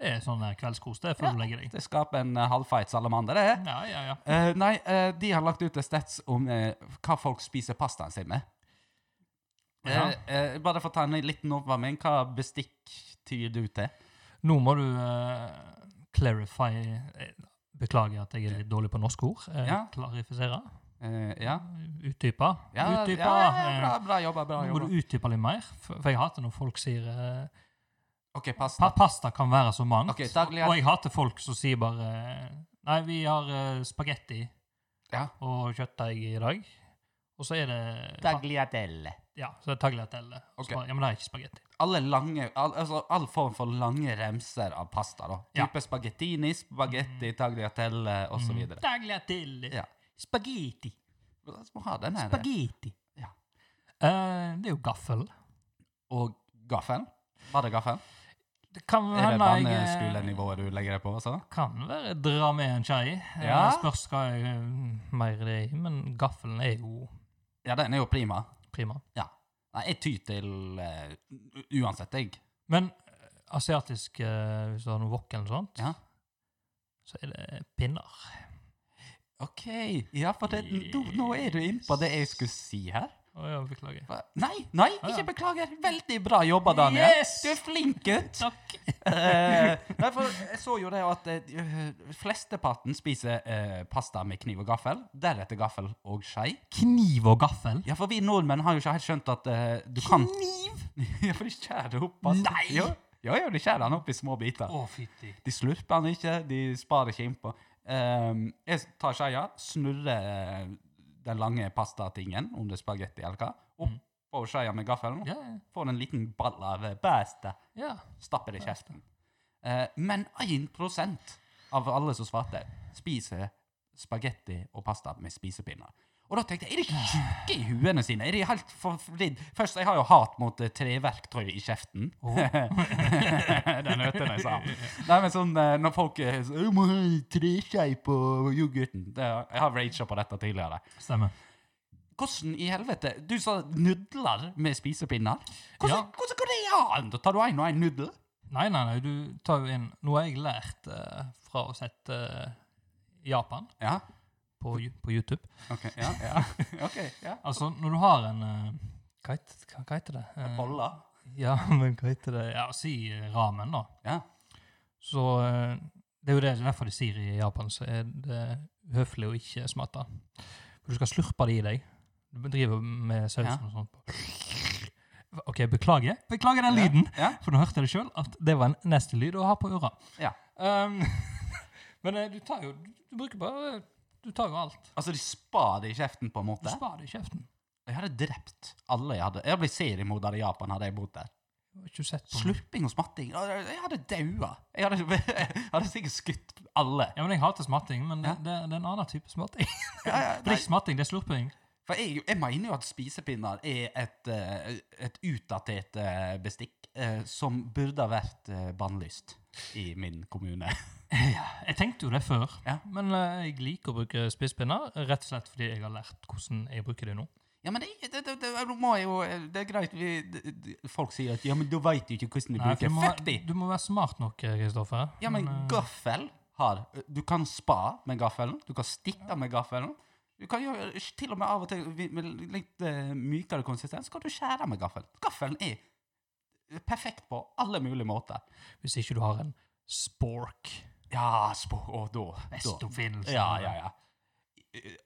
Speaker 2: Det er sånn eh, kveldskos, det, før du legger deg.
Speaker 3: Det skaper en eh, halvfeit salamander, det.
Speaker 2: Ja, ja, ja.
Speaker 3: Eh, nei, eh, de har lagt ut en stats om eh, hva folk spiser pastaen sin med.
Speaker 2: Ja.
Speaker 3: Eh, eh, bare for å ta en liten oppvarming, hva bestikk tyr du til?
Speaker 2: Nå må du eh, clarify eh, Beklager at jeg er litt dårlig på norske ord. Eh,
Speaker 3: Ja.
Speaker 2: Klarifisere.
Speaker 3: Eh, ja.
Speaker 2: Utdype.
Speaker 3: Ja, ja,
Speaker 2: utdype.
Speaker 3: ja, ja,
Speaker 2: eh,
Speaker 3: bra, bra jobba, bra
Speaker 2: Nå må
Speaker 3: jobba.
Speaker 2: du utdype litt mer, for for jeg hater når folk sier eh,
Speaker 3: Ok,
Speaker 2: pa
Speaker 3: pasta.
Speaker 2: Pasta kan være så mangt.
Speaker 3: Ok, daglig-
Speaker 2: Og jeg hater folk som sier bare eh, Nei, vi har eh, spagetti
Speaker 3: Ja.
Speaker 2: og kjøttdeig i dag. Og så er det
Speaker 3: Tagliatelle.
Speaker 2: Ja, så det er tagliatelle. Og
Speaker 3: Ok.
Speaker 2: så bare, Ja, men det er ikke spagetti.
Speaker 3: Alle lange, al, altså all form for lange remser av pasta, da.
Speaker 2: Ja.
Speaker 3: Type spagettini, spagetti, tagliatelle, og så videre.
Speaker 2: Tagliatelle.
Speaker 3: Ja.
Speaker 2: Spagetti.
Speaker 3: Så må ha den her.
Speaker 2: Spagetti.
Speaker 3: Ja.
Speaker 2: Eh, det er jo gaffel.
Speaker 3: Og gaffelen. Var det gaffelen?
Speaker 2: Det kan
Speaker 3: Er det
Speaker 2: hende jeg eh,
Speaker 3: barneskolenivået du legger deg på, altså?
Speaker 2: Kan være dra med en skei. Eh,
Speaker 3: Ja.
Speaker 2: Spørs hva jeg eh, mer det er i, men gaffelen er jo
Speaker 3: Ja, den er jo prima.
Speaker 2: prima.
Speaker 3: Nei, jeg tyr til eh, u- Uansett, jeg.
Speaker 2: Men eh, asiatisk, eh, hvis du har noe wok eller noe sånt,
Speaker 3: Ja.
Speaker 2: så er det pinner.
Speaker 3: OK. Ja, for det, nå, nå er du inne på det jeg skulle si her.
Speaker 2: Å ja, beklager.
Speaker 3: Hva? Nei, nei,
Speaker 2: Ah, ja.
Speaker 3: ikke beklager. Veldig bra jobba, Daniel.
Speaker 2: Yes!
Speaker 3: Du er flink gutt.
Speaker 2: Takk.
Speaker 3: Eh, nei, for jeg så jo det at eh, flesteparten spiser eh, pasta med kniv og gaffel. Deretter gaffel og skei.
Speaker 2: Kniv og gaffel?
Speaker 3: Ja, for vi nordmenn har jo ikke helt skjønt at eh, du kan
Speaker 2: Kniv?
Speaker 3: Ja, for de skjærer opp altså. pasta.
Speaker 2: Nei!
Speaker 3: Jo, jo, jo, de skjærer den opp i små biter.
Speaker 2: Å, fytti.
Speaker 3: De slurper den ikke, de sparer ikke innpå. Ehm, jeg tar skeia, snurrer eh, den lange pastatingen, om det er spagetti eller hva, opp
Speaker 2: Mm.
Speaker 3: på skeia med gaffelen,
Speaker 2: Ja,
Speaker 3: får en liten ball av eh, pasta,
Speaker 2: ja.
Speaker 3: stapper det i kjeften. Eh, men 1 av alle som svarte, spiser spagetti og pasta med spisepinner. Og da tenkte jeg, er de ikke tjukke i huene sine? Er de helt forvridd? Først, jeg har jo hat mot eh, treverktøy i kjeften. Den hørte jeg sa. Nei, men sånn eh, når folk eh, så, «Jeg må ha en treskje på yoghurten. Det, jeg har raga på dette tidligere.
Speaker 2: Stemmer.
Speaker 3: Hvordan i helvete? Du sa nudler med spisepinner.
Speaker 2: Ja.
Speaker 3: Hvordan, hvordan går det an? Da tar du en og en nudel.
Speaker 2: Nei, nei, nei, du tar jo inn Nå har jeg lært eh, fra å sette eh, Japan
Speaker 3: Ja,
Speaker 2: på, Ju- på YouTube.
Speaker 3: ok. Ja, Eh, ja. ok, ja.
Speaker 2: Altså, når du har en eh, hva, heter, hva, hva heter det? Eh,
Speaker 3: Boller.
Speaker 2: ja, men hva heter det? Ja, si eh, ramen, da.
Speaker 3: Ja.
Speaker 2: Så eh, det er jo det, det er derfor de sier i Japan, så er det høflig å ikke smatte. For du skal slurpe det i deg. Du driver med sausen
Speaker 3: Ja.
Speaker 2: og sånt. OK, beklager. Beklager den lyden.
Speaker 3: Ja.
Speaker 2: For nå hørte jeg det sjøl, at det var en nasty lyd å ha på øra.
Speaker 3: Ja.
Speaker 2: Um, men eh, du tar jo Du bruker bare Du tar jo alt.
Speaker 3: Altså, de spar det i kjeften på
Speaker 2: Du
Speaker 3: en måte.
Speaker 2: sparer det i kjeften.
Speaker 3: Jeg hadde drept alle jeg hadde. Jeg hadde blitt seriemorder i Japan hadde jeg bodd der.
Speaker 2: Du har ikke sett på den.
Speaker 3: Slurping og smatting. Jeg jeg hadde daua. Jeg hadde, jeg hadde sikkert skutt alle.
Speaker 2: Ja, men Jeg hater smatting, men det,
Speaker 3: Ja.
Speaker 2: det, det er en annen type smatting.
Speaker 3: Ja, ja,
Speaker 2: For det er
Speaker 3: nei,
Speaker 2: ikke smatting, det er slurping.
Speaker 3: For jeg, jeg mener jo at spisepinner er et, eh, et utdatert eh, bestikk eh, som burde ha vært eh, bannlyst i min kommune.
Speaker 2: Jeg tenkte jo det før,
Speaker 3: Ja.
Speaker 2: men eh, jeg liker å bruke spisspinner, rett og slett fordi jeg har lært hvordan jeg bruker det nå.
Speaker 3: Ja, men det, det, det, det, nå må jeg jo, eh, det er greit vi, d- d- Folk sier at ja, men du veit jo ikke hvordan du
Speaker 2: Nei, for du,
Speaker 3: bruker
Speaker 2: må,
Speaker 3: Fuck de!
Speaker 2: være- du må være smart nok, eh, Kristoffer.
Speaker 3: Ja, men
Speaker 2: eh,
Speaker 3: gaffel har Du kan spa med gaffelen, du kan stikke med gaffelen. Du kan gjøre til og med av og til vi- med litt eh, mykere konsistens, så kan du skjære med gaffelen. Gaffelen er perfekt på alle mulige måter.
Speaker 2: hvis ikke du har en spork
Speaker 3: Ja, spå, og da, sånn, da.
Speaker 2: Best-oppfinnelse.
Speaker 3: Ja, ja, ja.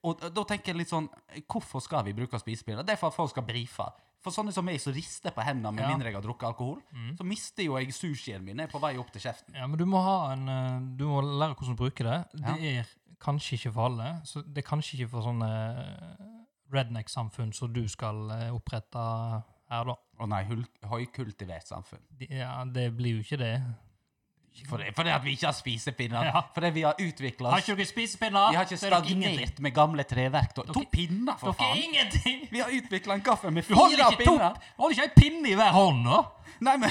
Speaker 3: Og da tenker jeg litt sånn Hvorfor skal vi bruke spisepinner? Det er for at folk skal brife. For sånne som meg som rister på hendene med
Speaker 2: Ja.
Speaker 3: mindre jeg har drukket alkohol, så mister jo jeg sushien min. Jeg er på vei opp til kjeften.
Speaker 2: Ja, men du må, ha en, eh, du må lære hvordan du bruker det. Det er kanskje ikke for alle. Så det er kanskje ikke for sånne eh, redneck-samfunn som du skal eh, opprette her, da.
Speaker 3: Å nei, hul- høykultivert samfunn.
Speaker 2: De- Ja, det blir jo ikke det.
Speaker 3: For det, for det at vi ikke har spisepinner.
Speaker 2: Ja.
Speaker 3: Fordi vi har utvikla
Speaker 2: Har
Speaker 3: oss.
Speaker 2: ikke dere spisepinner?
Speaker 3: Vi har ikke
Speaker 2: så er dere ingenting.
Speaker 3: stagnert med gamle treverktøy. To
Speaker 2: Dere-
Speaker 3: pinner, for
Speaker 2: Dere er
Speaker 3: faen!
Speaker 2: ingenting!
Speaker 3: Vi har utvikla en gaffel med
Speaker 2: Du holder
Speaker 3: fire
Speaker 2: ikke to
Speaker 3: pinner!
Speaker 2: du holder ikke ei pinne i hver hånd, da?
Speaker 3: Nei, men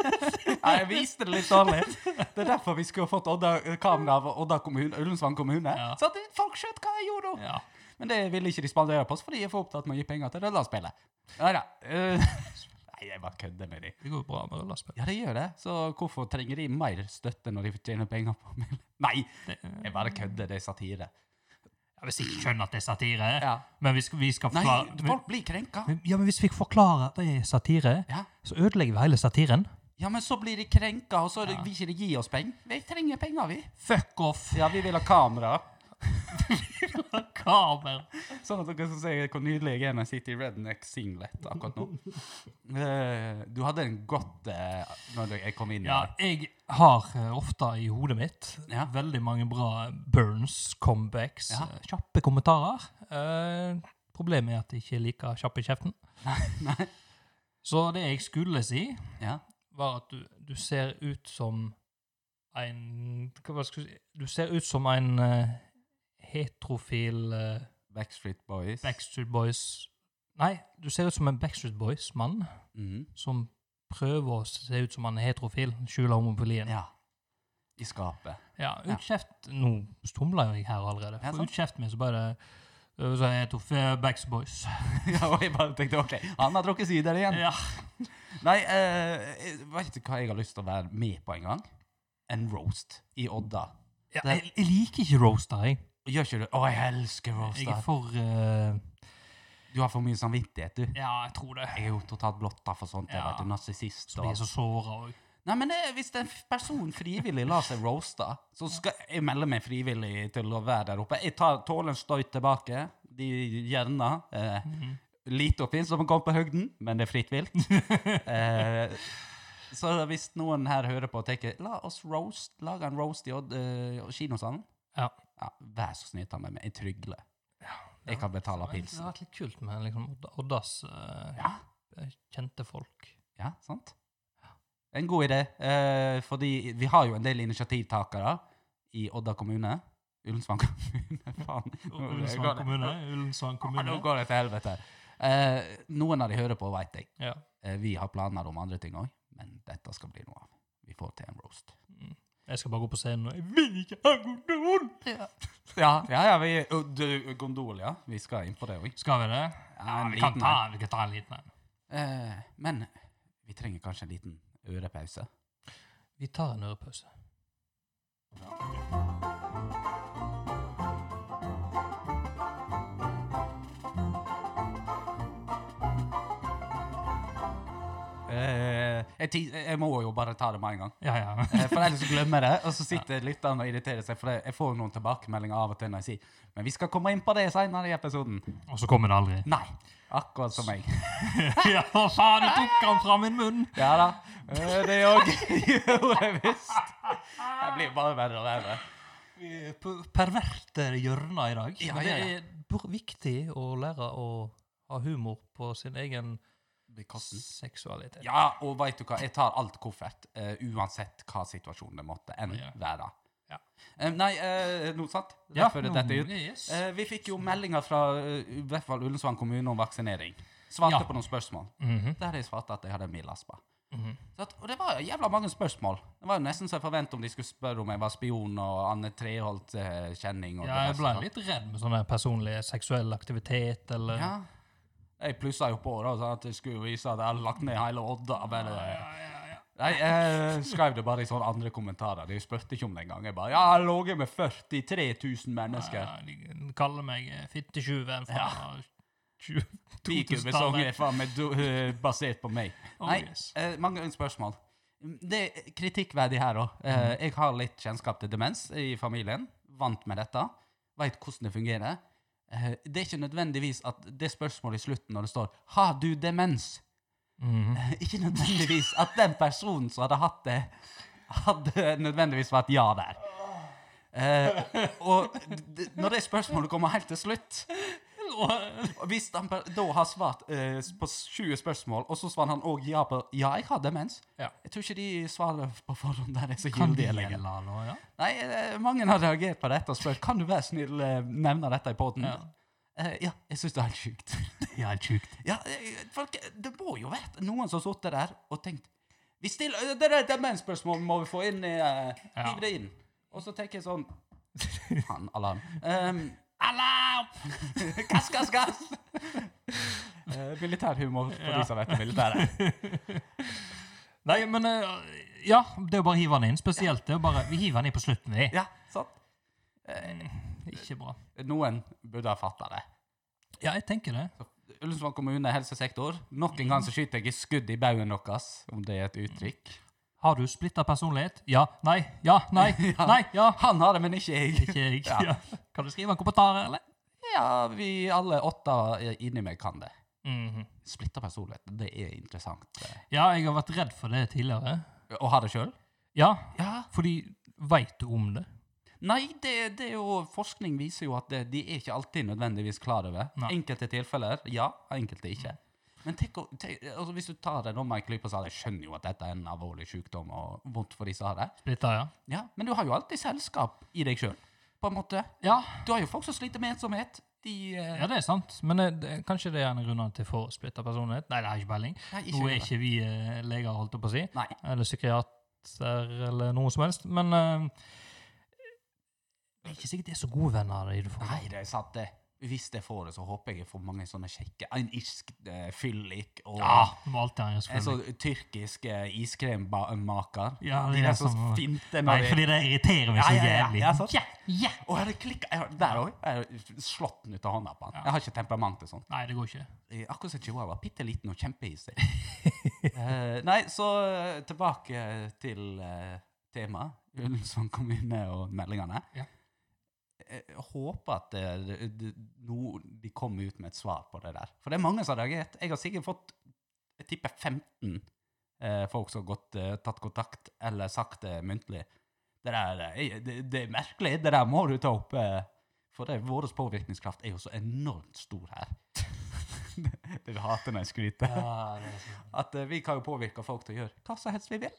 Speaker 3: Nei, Jeg viste det litt dårlig. Det er derfor vi skulle ha fått Odda eh, kamera av Odda kommune, Ullensvang kommune.
Speaker 2: Ja.
Speaker 3: Så at folk skjøt hva jeg gjorde da.
Speaker 2: Ja.
Speaker 3: Men det ville ikke de spandere på oss, fordi jeg er for opptatt med å gi penger til Rødland-spillet. Nei da. eh, Nei, jeg bare kødder med de.
Speaker 2: Det går jo bra med rullaspill.
Speaker 3: Ja, de gjør det. Så hvorfor trenger de mer støtte når de tjener penger på meg? Nei! Jeg bare kødder. Det er satire.
Speaker 2: Ja, hvis ikke skjønner at det er satire,
Speaker 3: Ja.
Speaker 2: men vi skal, vi skal
Speaker 3: Nei,
Speaker 2: forklare
Speaker 3: folk blir krenka.
Speaker 2: Men- Ja, men hvis vi forklarer at det er satire,
Speaker 3: Ja.
Speaker 2: så ødelegger vi hele satiren.
Speaker 3: ja, men så blir de krenka, og så vil ikke de gi oss penger. Vi trenger penger, vi.
Speaker 2: Fuck off!
Speaker 3: Ja, vi vil ha kamera.
Speaker 2: Kamera.
Speaker 3: Sånn at dere skal se hvor nydelig jeg er når jeg sitter i redneck singlet akkurat nå. Eh, Du hadde en godt eh, når jeg kom inn
Speaker 2: Ja,
Speaker 3: her.
Speaker 2: jeg har eh, ofte i hodet mitt
Speaker 3: Ja.
Speaker 2: veldig mange bra burns, comebacks,
Speaker 3: Ja.
Speaker 2: eh, kjappe kommentarer. Eh, problemet er at jeg ikke er like kjapp i kjeften. Så det jeg skulle si,
Speaker 3: Ja.
Speaker 2: var at du, du ser ut som en Hva var det jeg skulle si? Du ser ut som en eh, heterofil eh,
Speaker 3: Backstreet Boys.
Speaker 2: Backstreet Boys Nei, du ser ut som en Backstreet Boys-mann
Speaker 3: Mhm.
Speaker 2: som prøver å se ut som han er heterofil, skjuler homofilien.
Speaker 3: Ja. I skapet.
Speaker 2: Ja,
Speaker 3: Ja.
Speaker 2: utkjeft Nå stumler jo jeg her allerede.
Speaker 3: Ja, sånn.
Speaker 2: For
Speaker 3: sant.
Speaker 2: utkjeft meg, så bare øh, Så jeg tok uh, Backs Boys.
Speaker 3: ja, og jeg bare tenkte OK, han har drukket sider igjen.
Speaker 2: Ja.
Speaker 3: Nei, eh, jeg vet ikke hva jeg har lyst til å være med på en gang. En roast i Odda.
Speaker 2: Ja,
Speaker 3: Det-
Speaker 2: jeg, jeg liker ikke roaster, jeg.
Speaker 3: Gjør ikke du Å, jeg elsker
Speaker 2: Jeg er
Speaker 3: roaster.
Speaker 2: for øh,
Speaker 3: Du har for mye samvittighet, du.
Speaker 2: Ja, jeg tror det.
Speaker 3: Jeg er jo totalt blotta for sånt. Jeg
Speaker 2: Ja.
Speaker 3: vet du, narsissist
Speaker 2: Jeg
Speaker 3: og
Speaker 2: er så såra òg.
Speaker 3: Nei, men eh, hvis en f- person frivillig lar seg roaste, så skal jeg melde meg frivillig til å være der oppe. Jeg tar tåler en støyt tilbake. De gjerne eh,
Speaker 2: Mhm.
Speaker 3: Lite oppfinnsomme kom på høgden, men det er fritt vilt. eh, så hvis noen her hører på og tenker la oss roast, lage en roast i Odd- eh, kinosalen,
Speaker 2: Ja.
Speaker 3: ja, vær så snill, ta med meg en trygle. Jeg kan betale
Speaker 2: Men Det
Speaker 3: pilsen.
Speaker 2: har vært litt kult med liksom, Odd- Oddas øh,
Speaker 3: Ja.
Speaker 2: kjente folk.
Speaker 3: Ja, sant? En god idé, eh, fordi vi har jo en del initiativtakere i Odda kommune Ullensvang kommune, faen. Nå
Speaker 2: Ullensvang
Speaker 3: går det-
Speaker 2: kommune. Ullensvang
Speaker 3: Ja, Nå
Speaker 2: kommune.
Speaker 3: går det til helvete. Eh, noen av de hører på, veit jeg.
Speaker 2: Ja.
Speaker 3: Eh, vi har planer om andre ting òg, men dette skal bli noe av. Vi får til en roast.
Speaker 2: Jeg skal bare gå på scenen og Jeg vil ikke ha gondol!
Speaker 3: Ja, ja, ja vi, og du, gondol, ja. Vi skal inn på det òg.
Speaker 2: Skal vi det?
Speaker 3: Ja, en
Speaker 2: vi, kan
Speaker 3: liten
Speaker 2: ta, vi kan ta en liten en.
Speaker 3: Eh, men vi trenger kanskje en liten ørepause.
Speaker 2: Vi tar en ørepause.
Speaker 3: Eh, jeg, ti- jeg må jo bare ta det med en gang.
Speaker 2: Ja, ja.
Speaker 3: Eh, For ellers så glemmer jeg det, og så sitter lytterne og irriterer seg. For jeg- jeg får jo noen tilbakemeldinger av og til når jeg sier Men vi skal komme inn på det seinere i episoden.
Speaker 2: Og så kommer det aldri.
Speaker 3: Nei. Akkurat som meg.
Speaker 2: ja, for faen, du tok den fra min munn!
Speaker 3: Ja da. Eh, Det òg gjorde jeg visst. Jeg blir bare verre og verre.
Speaker 2: Vi er eh, på perverte hjørner i dag.
Speaker 3: Ja,
Speaker 2: men det
Speaker 3: ja, ja.
Speaker 2: er bor- viktig å lære å ha humor på sin egen seksualitet.
Speaker 3: Ja, og veit du hva, jeg tar alt koffert, eh, uansett hva situasjonen det måtte enn
Speaker 2: Ja.
Speaker 3: være.
Speaker 2: Ja.
Speaker 3: Eh, nei, eh, noe sant?
Speaker 2: Ja, Mm,
Speaker 3: Derfor er dette ut.
Speaker 2: yes.
Speaker 3: Eh, vi fikk jo meldinger fra eh, i hvert fall Ullensvang kommune om vaksinering. Svarte
Speaker 2: Ja.
Speaker 3: på noen spørsmål.
Speaker 2: Mhm,
Speaker 3: Der jeg svarte at jeg hadde en mild aspa.
Speaker 2: mhm.
Speaker 3: Så at- Og det var jævla mange spørsmål. Det var jo nesten så jeg forventet om de skulle spørre om jeg var spion og Anne Treholt-kjenning. og
Speaker 2: Ja,
Speaker 3: det
Speaker 2: jeg
Speaker 3: der
Speaker 2: ble
Speaker 3: sånn.
Speaker 2: litt redd med sånn der personlig seksuell aktivitet, eller
Speaker 3: Ja. Jeg plussa jo på da, sånn at jeg skulle vise at jeg hadde lagt ned hele Odda. Men, eh, Nei, jeg skrev det bare i sånne andre kommentarer. De spurte ikke om det engang. Jeg bare Ja, jeg lå jo med 43 000 mennesker.
Speaker 2: Ja, de kaller meg eh, fittetjuven fra tju-
Speaker 3: Bikubesong
Speaker 2: 2000-tallet.
Speaker 3: er faen meg do- eh, basert på meg.
Speaker 2: Oh,
Speaker 3: Nei,
Speaker 2: yes.
Speaker 3: eh, mange spørsmål. Det er kritikkverdig her òg. Eh, jeg har litt kjennskap til demens i familien. Vant med dette. Veit hvordan det fungerer. Eh, det er ikke nødvendigvis at det spørsmålet i slutten når det står 'Har du demens?'
Speaker 2: Mhm.
Speaker 3: ikke nødvendigvis at den personen som hadde hatt det, hadde nødvendigvis vært ja der. Eh, og d- når det spørsmålet kommer helt til slutt
Speaker 2: eh,
Speaker 3: og Hvis han per- da har svart eh, på 20 spørsmål, og så svarer han òg ja på Ja, jeg har demens.
Speaker 2: Ja.
Speaker 3: Jeg tror ikke de svarer på forhånd der er så
Speaker 2: Kan det
Speaker 3: gyldige
Speaker 2: gjelde
Speaker 3: lenger.
Speaker 2: nå, ja?
Speaker 3: Nei, eh, mange har reagert på dette og spurt kan du være snill eh, nevne dette i poden.
Speaker 2: Ja.
Speaker 3: Eh, ja, jeg syns det er helt sjukt.
Speaker 2: Ja, sjukt.
Speaker 3: Ja, eh, folk, det må jo vært noen som har sittet der og tenkt vi stiller, eh, Det der demensspørsmålet må vi få inn i uh,
Speaker 2: Ja.
Speaker 3: Hiv det inn. Og så tenker jeg sånn Faen, alarm. Um,
Speaker 2: Alarm!
Speaker 3: gass, gass, gass! Eh, militærhumor for
Speaker 2: Ja.
Speaker 3: de som vet om militæret.
Speaker 2: Nei, men eh, Ja, det er jo bare å hive den inn. Spesielt det er jo bare Vi hiver den inn på slutten, vi. Eh,
Speaker 3: Ja, sant?
Speaker 2: Ikke bra.
Speaker 3: Noen burde ha fatta det.
Speaker 2: Ja, jeg tenker det.
Speaker 3: Ullensvang kommune, helsesektor. Nok en gang så skyter jeg et skudd i baugen deres, om det er et uttrykk.
Speaker 2: Har du splitta personlighet? Ja. Nei. Ja. Nei. Nei. Ja.
Speaker 3: Han har det, men ikke jeg.
Speaker 2: Ikke jeg.
Speaker 3: Ja.
Speaker 2: Ja. Kan du skrive en kommentar, eller?
Speaker 3: Ja, vi alle åtte eh, inni meg kan det.
Speaker 2: Mhm.
Speaker 3: Splitta personlighet, det er interessant. eh.
Speaker 2: Ja, jeg har vært redd for det tidligere.
Speaker 3: Å ha det sjøl?
Speaker 2: Ja,
Speaker 3: Ja.
Speaker 2: fordi Veit du om det?
Speaker 3: Nei, det, det er jo, forskning viser jo at det, de er ikke alltid nødvendigvis klar over.
Speaker 2: Nei.
Speaker 3: Enkelte tilfeller, ja. Enkelte ikke. Men tenk, å- tenk altså hvis du tar det nå med en klype og sier jeg skjønner jo at dette er en alvorlig sykdom og vondt for de som har det,
Speaker 2: Splitta, ja.
Speaker 3: ja, men du har jo alltid selskap i deg sjøl, på en måte.
Speaker 2: ja.
Speaker 3: Du har jo folk som sliter med ensomhet. De eh,
Speaker 2: Ja, det er sant. Men eh, det- kanskje det er en grunn til for splitta personlighet? Nei, det har jeg ikke peiling.
Speaker 3: Nei, ikke
Speaker 2: Nå er
Speaker 3: gjør det.
Speaker 2: ikke vi eh, leger, holdt jeg på å si.
Speaker 3: Nei.
Speaker 2: Eller psykiater, eller noe som helst. Men eh, det er ikke sikkert det er så gode venner av de du får.
Speaker 3: Nei, det er sant, det. Hvis jeg får det, så håper jeg jeg får mange sånne kjekke En irsk eh, fyllik og
Speaker 2: Ja, du må alltid ha en
Speaker 3: En
Speaker 2: gjestfri.
Speaker 3: sånn tyrkisk eh, iskremmaker.
Speaker 2: Ja, det
Speaker 3: de
Speaker 2: er
Speaker 3: der som
Speaker 2: sånn-
Speaker 3: finter
Speaker 2: Nei,
Speaker 3: når de
Speaker 2: fordi det irriterer meg
Speaker 3: Ja,
Speaker 2: så
Speaker 3: ja, ja,
Speaker 2: jævlig.
Speaker 3: ja, sant.
Speaker 2: Ja, ja.
Speaker 3: Å, jeg hadde klikka jeg har- Der òg. Jeg har slått den ut av hånda på han. Jeg har ikke temperament til sånt.
Speaker 2: Nei, det går ikke.
Speaker 3: Eh, Akkurat som chihuahua. Bitte liten og kjempehissig. Eh, nei, så eh, tilbake til eh, temaet. Ullensvang kommune og meldingene. Eh,
Speaker 2: Ja.
Speaker 3: Jeg håper at eh, det, det, nå de kommer ut med et svar på det der. For det er mange som har reagert. Jeg har sikkert fått jeg tipper 15 eh, folk som har gått, eh, tatt kontakt eller sagt det muntlig. Det, der, eh, det, det er merkelig. Det der må du ta opp. Eh, for det, vår påvirkningskraft er jo så enormt stor her. Dere hater når jeg skryter.
Speaker 2: Ja, det er sant.
Speaker 3: At eh, vi kan jo påvirke folk til å gjøre hva som helst vi vil.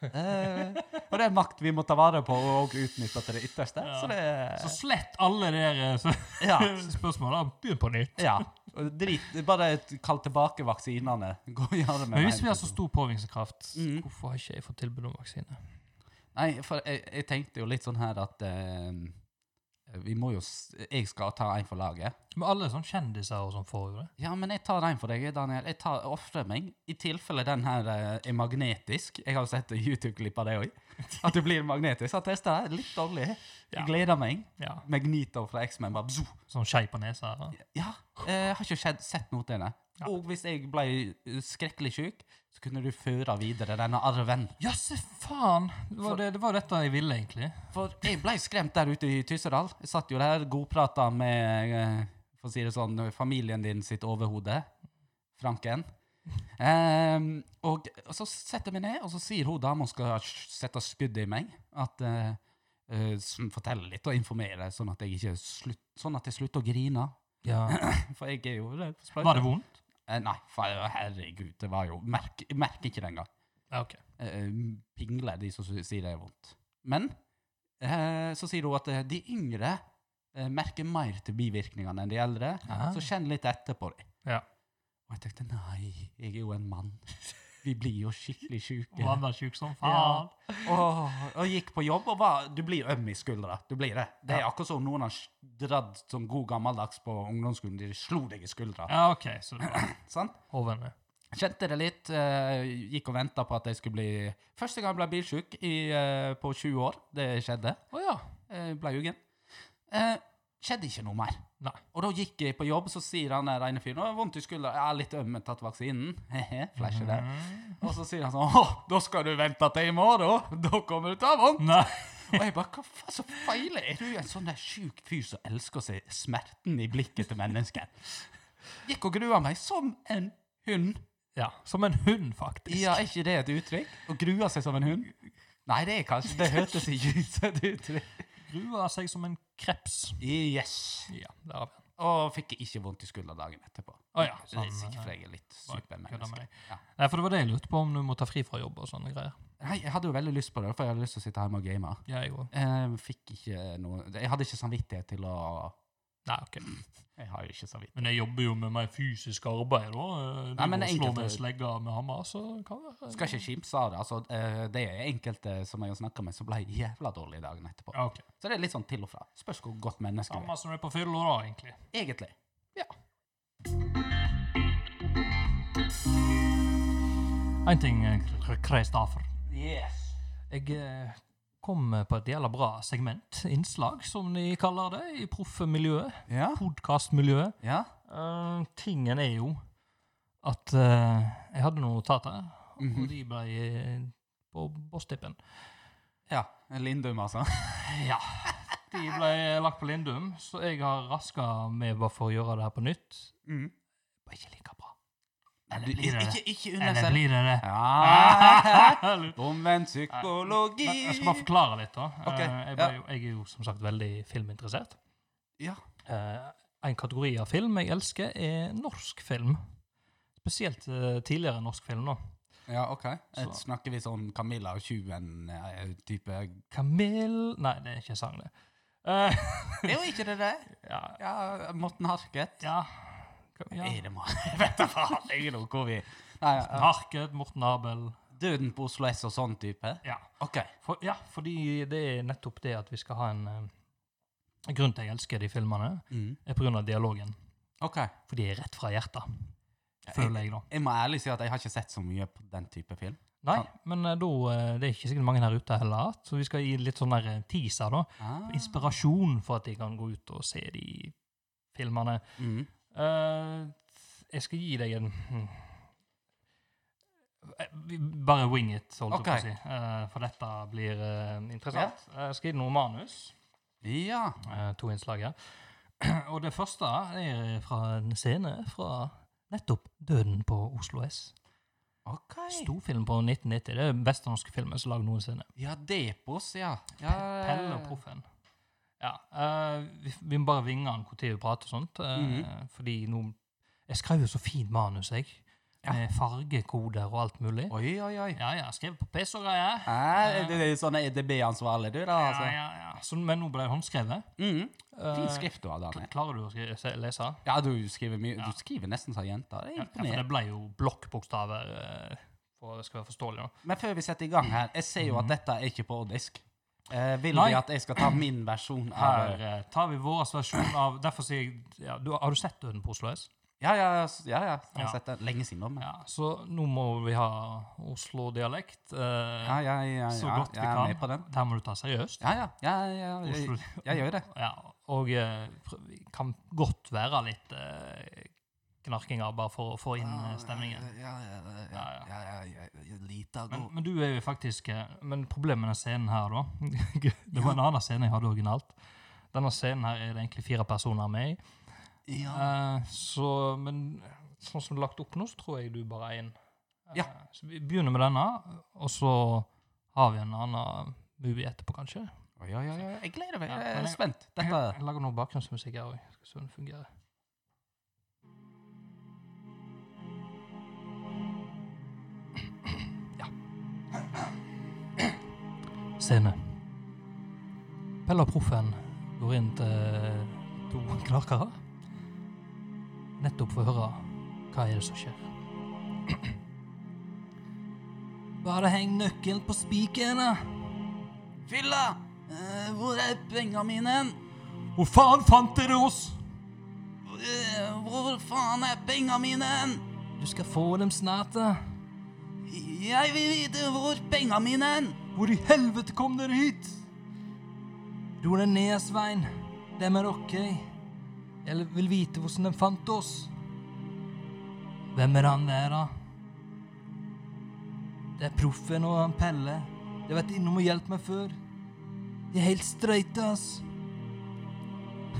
Speaker 3: Eh, og det er en makt vi må ta vare på og utnytte til det ytterste.
Speaker 2: Ja.
Speaker 3: Så det
Speaker 2: Så slett alle de der eh, s-
Speaker 3: Ja.
Speaker 2: spørsmåla. Begynn på nytt.
Speaker 3: ja. Og Drit, bare kall tilbake vaksinene. Gå og gjør det med
Speaker 2: Men hvis
Speaker 3: meg.
Speaker 2: vi har så stor påvirkningskraft,
Speaker 3: Mhm.
Speaker 2: hvorfor har ikke jeg fått tilbud om vaksine?
Speaker 3: Nei, for jeg, jeg tenkte jo litt sånn her at eh, vi må jo s- Jeg skal ta en for laget.
Speaker 2: Men alle sånn kjendiser og sånn får jo det.
Speaker 3: Ja, men jeg tar den for deg, Daniel. Jeg tar ofrer meg. I tilfelle den her eh, er magnetisk. Jeg har jo sett YouTube-klipp av det òg. At det blir magnetisk. Jeg testa det. Litt dårlig.
Speaker 2: Ja.
Speaker 3: Jeg gleder meg.
Speaker 2: Ja,
Speaker 3: Magneto fra X-Men bare bzoo.
Speaker 2: Sånn skei på nesa. eller?
Speaker 3: Ja, jeg har ikke skjedd, sett noe til det.
Speaker 2: Ja.
Speaker 3: Og hvis jeg ble eh, skrekkelig syk, så kunne du føre videre denne arven.
Speaker 2: Ja, se faen! Det var, det, det var dette jeg ville, egentlig.
Speaker 3: For jeg ble skremt der ute i Tyssedal. Jeg satt jo der, godprata med eh, for å si det sånn, familien din sitt overhode, Franken. Ehm, og, og så setter jeg meg ned, og så sier hun dama som skal s- sette skuddet i meg, at eh, eh, som forteller litt og informerer, sånn at jeg ikke slutt, sånn at jeg slutter å grine. For jeg er jo redd for sprøyter.
Speaker 2: Var det vondt?
Speaker 3: Eh, nei, for herregud, det var jo Merk, merk ikke det engang
Speaker 2: Ja, ok.
Speaker 3: eh, pingle, de som sy- sier det er vondt. Men eh, så sier hun at eh, de yngre eh, merker mer til bivirkningene enn de eldre,
Speaker 2: Ah.
Speaker 3: så kjenn litt etter på dem.
Speaker 2: Ja.
Speaker 3: Og jeg tenkte nei, jeg er jo en mann. Vi blir jo skikkelig sjuke.
Speaker 2: Var han sjuk som faen?
Speaker 3: Åh, og gikk på jobb, og var, du blir øm i skuldra. Du blir det. Det er akkurat som om noen har s- dratt som god gammeldags på ungdomsskolen. De slo deg i skuldra.
Speaker 2: Ja, OK. Så det var
Speaker 3: Sant?
Speaker 2: hovene.
Speaker 3: Kjente det litt, eh, gikk og venta på at jeg skulle bli Første gang jeg ble bilsjuk i, eh, på 20 år. Det skjedde.
Speaker 2: Å ja.
Speaker 3: Eh, ble jugen. Eh, skjedde ikke noe mer.
Speaker 2: Nei.
Speaker 3: Og da gikk jeg på jobb, så sier han der ene fyren 'Å, vondt i skuldra. Ja, litt øm, tatt vaksinen.' He-he, flasher der.
Speaker 2: Mm.
Speaker 3: Og så sier han sånn 'Å, da skal du vente til i morgen. Da kommer du til å ha vondt.'
Speaker 2: Nei.
Speaker 3: Og jeg bare 'Hva faen så feiler? Er du en sånn der sjuk fyr som elsker å se smerten i blikket til mennesker?' Gikk og grua meg som en hund.
Speaker 2: Ja. Som en hund, faktisk.
Speaker 3: Ja, er ikke det et uttrykk? Å grue seg som en hund? Nei, det er kanskje Det hørtes ikke ut som et uttrykk.
Speaker 2: Grua seg som en kreps.
Speaker 3: Yes.
Speaker 2: Ja, der har vi den.
Speaker 3: Og fikk ikke vondt i skuldra dagen etterpå.
Speaker 2: Å ja,
Speaker 3: Så det er
Speaker 2: sånn,
Speaker 3: sikkert
Speaker 2: eh,
Speaker 3: fordi jeg er litt
Speaker 2: bare kødda med
Speaker 3: supermenneske.
Speaker 2: deg.
Speaker 3: Ja.
Speaker 2: Nei, for det var det jeg lurte på, om du må ta fri fra jobb og sånne greier.
Speaker 3: Nei, jeg hadde jo veldig lyst på det, for jeg hadde lyst til å sitte hjemme og game.
Speaker 2: Ja, jeg òg.
Speaker 3: Eh, fikk ikke noe Jeg hadde ikke samvittighet til å
Speaker 2: Nei, OK.
Speaker 3: Jeg har jo ikke samvittighet.
Speaker 2: Men jeg jobber jo med mer fysisk arbeid, da. Eh, Du
Speaker 3: Nei, men
Speaker 2: må slå
Speaker 3: enkelte-
Speaker 2: med slegga med hammer, så kan det være
Speaker 3: Skal ikke kimse av det. Altså, eh, det er enkelte som jeg har snakka med, som ble jævla dårlige dagen etterpå.
Speaker 2: Ja, OK.
Speaker 3: Så det er litt sånn til og fra. Spørs hvor godt menneske du er.
Speaker 2: Samme som er på fylla, da, egentlig.
Speaker 3: Egentlig.
Speaker 2: Ja. Én ting, eh, Kr- Kristoffer.
Speaker 3: Yes.
Speaker 2: Jeg eh, kom på et jævla bra segment, innslag, som de kaller det, i proffmiljøet.
Speaker 3: Ja.
Speaker 2: Podkastmiljøet.
Speaker 3: Ja.
Speaker 2: Eh, tingen er jo at eh, jeg hadde noen notater,
Speaker 3: Mhm.
Speaker 2: og de ble eh, på bosstippen.
Speaker 3: ja. Lindum, altså.
Speaker 2: Ja. De ble lagt på Lindum, så jeg har raska med bare for å gjøre det her på nytt.
Speaker 3: Mm.
Speaker 2: Det var ikke like bra.
Speaker 3: Eller
Speaker 2: Eller blir det det?
Speaker 3: Ikke, ikke
Speaker 2: Eller blir det det?
Speaker 3: Ja.
Speaker 2: Eller-
Speaker 3: Omvendt psykologi.
Speaker 2: Men jeg skal bare forklare litt, da. Eh,
Speaker 3: Ok,
Speaker 2: Jeg, ble, jo- jeg er jo som sagt veldig filminteressert.
Speaker 3: Ja.
Speaker 2: Eh, en kategori av film jeg elsker, er norsk film. Spesielt eh, tidligere norsk film, da.
Speaker 3: ja, OK.
Speaker 2: Så-
Speaker 3: Eh, Snakker vi sånn Camilla og eh, tjuven-type?
Speaker 2: Kamel Nei, det er ikke en sang, det. Eh,
Speaker 3: Er jo ikke det det?
Speaker 2: ja,
Speaker 3: Ja, Morten Harket.
Speaker 2: ja. Ka- ja.
Speaker 3: Er det Morten? Jeg vet da faen ikke noe hvor vi Nei, ja.
Speaker 2: Harket, Morten Abel
Speaker 3: Døden på Oslo S og sånn type?
Speaker 2: Ja.
Speaker 3: OK.
Speaker 2: For, ja, fordi det er nettopp det at vi skal ha en eh, grunn til at jeg elsker de filmene,
Speaker 3: Mm.
Speaker 2: er pga. dialogen.
Speaker 3: OK.
Speaker 2: For de er rett fra hjertet,
Speaker 3: Ja,
Speaker 2: føler jeg, da.
Speaker 3: Jeg må ærlig si at jeg har ikke sett så mye på den type film.
Speaker 2: Nei, men eh, da, eh, det er ikke sikkert mange her ute heller, så vi skal gi litt sånn der eh, teaser, da.
Speaker 3: Ah.
Speaker 2: Inspirasjon for at de kan gå ut og se de filmene.
Speaker 3: Mm.
Speaker 2: Eh, jeg skal gi deg en hm. Eh, vi- Bare wing it, holdt jeg på å
Speaker 3: Ok.
Speaker 2: si. Eh, for dette blir eh, interessant. Eh, Jeg skal gi deg noe manus.
Speaker 3: Ja.
Speaker 2: eh, to innslag her. Og det første er fra en scene fra nettopp 'Døden på Oslo S'.
Speaker 3: OK.
Speaker 2: Storfilm på 1990. Det er den beste norske filmen som er lagd noensinne.
Speaker 3: Ja, Depos, ja. ja.
Speaker 2: Pelle og Proffen. Ja, eh, vi, vi må bare vinge han når vi prater og sånt, eh,
Speaker 3: Mhm.
Speaker 2: fordi nå Jeg skrev jo så fint manus, jeg.
Speaker 3: Ja.
Speaker 2: Med fargekoder og alt mulig.
Speaker 3: Oi, oi, oi.
Speaker 2: Ja, ja. Skrevet på PC og greier.
Speaker 3: Hæ? Er det sånn EDB-ansvarlig, du, da?
Speaker 2: Ja,
Speaker 3: Altså?
Speaker 2: ja, ja. Så, men nå ble det håndskrevet.
Speaker 3: Mm. Fin
Speaker 2: Eh,
Speaker 3: skrift du har, Daniel.
Speaker 2: Klarer du å skri- se- lese?
Speaker 3: Ja, du skriver mye. Du skriver nesten som jenta. Det er
Speaker 2: Ja, for det
Speaker 3: imponerende.
Speaker 2: ble jo blokkbokstaver eh, for at det skal være forståelig. nå.
Speaker 3: Men før vi setter i gang her, jeg ser jo at dette er ikke på disk. Eh, vil
Speaker 2: Nei.
Speaker 3: vi at jeg skal ta min versjon av
Speaker 2: Her eh, tar vi vår versjon av Derfor sier jeg ja, du, Har du sett Døden på Oslo S?
Speaker 3: Ja, ja, s- ja. ja. Jeg
Speaker 2: Ja.
Speaker 3: har sett det lenge siden. nå, Men.
Speaker 2: Ja, så nå må vi ha Oslo-dialekt. eh,
Speaker 3: Ja, ja, ja, ja.
Speaker 2: så godt vi
Speaker 3: jeg er
Speaker 2: kan.
Speaker 3: med på den.
Speaker 2: Det her må du ta seriøst.
Speaker 3: Ja, ja. ja, ja, ja. Jeg,
Speaker 2: Oslo-
Speaker 3: jeg gjør det.
Speaker 2: Ja, og eh, prøv- vi kan godt være litt eh, knarkinger, bare for å få inn eh, stemningen.
Speaker 3: Ja, ja, ja. ja,
Speaker 2: Ja,
Speaker 3: ja, ja, ja, ja, ja lite av
Speaker 2: Men,
Speaker 3: god.
Speaker 2: men du er jo faktisk eh, Men problemet med den scenen her, da Det var en annen scene jeg hadde originalt. Denne scenen her er det egentlig fire personer med i.
Speaker 3: Ja.
Speaker 2: Eh, så, men sånn som det er lagt opp nå, så tror jeg du bare er én.
Speaker 3: Ja.
Speaker 2: Så vi begynner med denne, og så har vi en annen movie etterpå, kanskje.
Speaker 3: Oi, oi, oi, oi. Jeg gleder meg.
Speaker 2: Ja,
Speaker 3: Jeg
Speaker 2: men
Speaker 3: er
Speaker 2: jeg-
Speaker 3: spent.
Speaker 2: Jeg,
Speaker 3: Dette
Speaker 2: jeg lager noe bakgrunnsmusikk her òg, skal se om det fungerer. Ja. Scene. Pelle og Proffen går inn til eh, to knarkere. Nettopp for å høre hva er det som skjer. Bare heng nøkkelen på spiken, da.
Speaker 3: Fylla! Eh, hvor er penga mine?
Speaker 2: Hvor faen fant dere oss?
Speaker 3: Eh, hvor faen er penga mine?
Speaker 2: Du skal få dem snart, da.
Speaker 3: Jeg vil vite hvor penga mine
Speaker 2: Hvor i helvete kom dere hit? Ro deg ned, Svein. Dem er ok. Jeg vil vite hvordan de fant oss. Hvem er han der, da? Det er Proffen og han Pelle. De har vært innom og hjulpet meg før. De er helt streite, ass.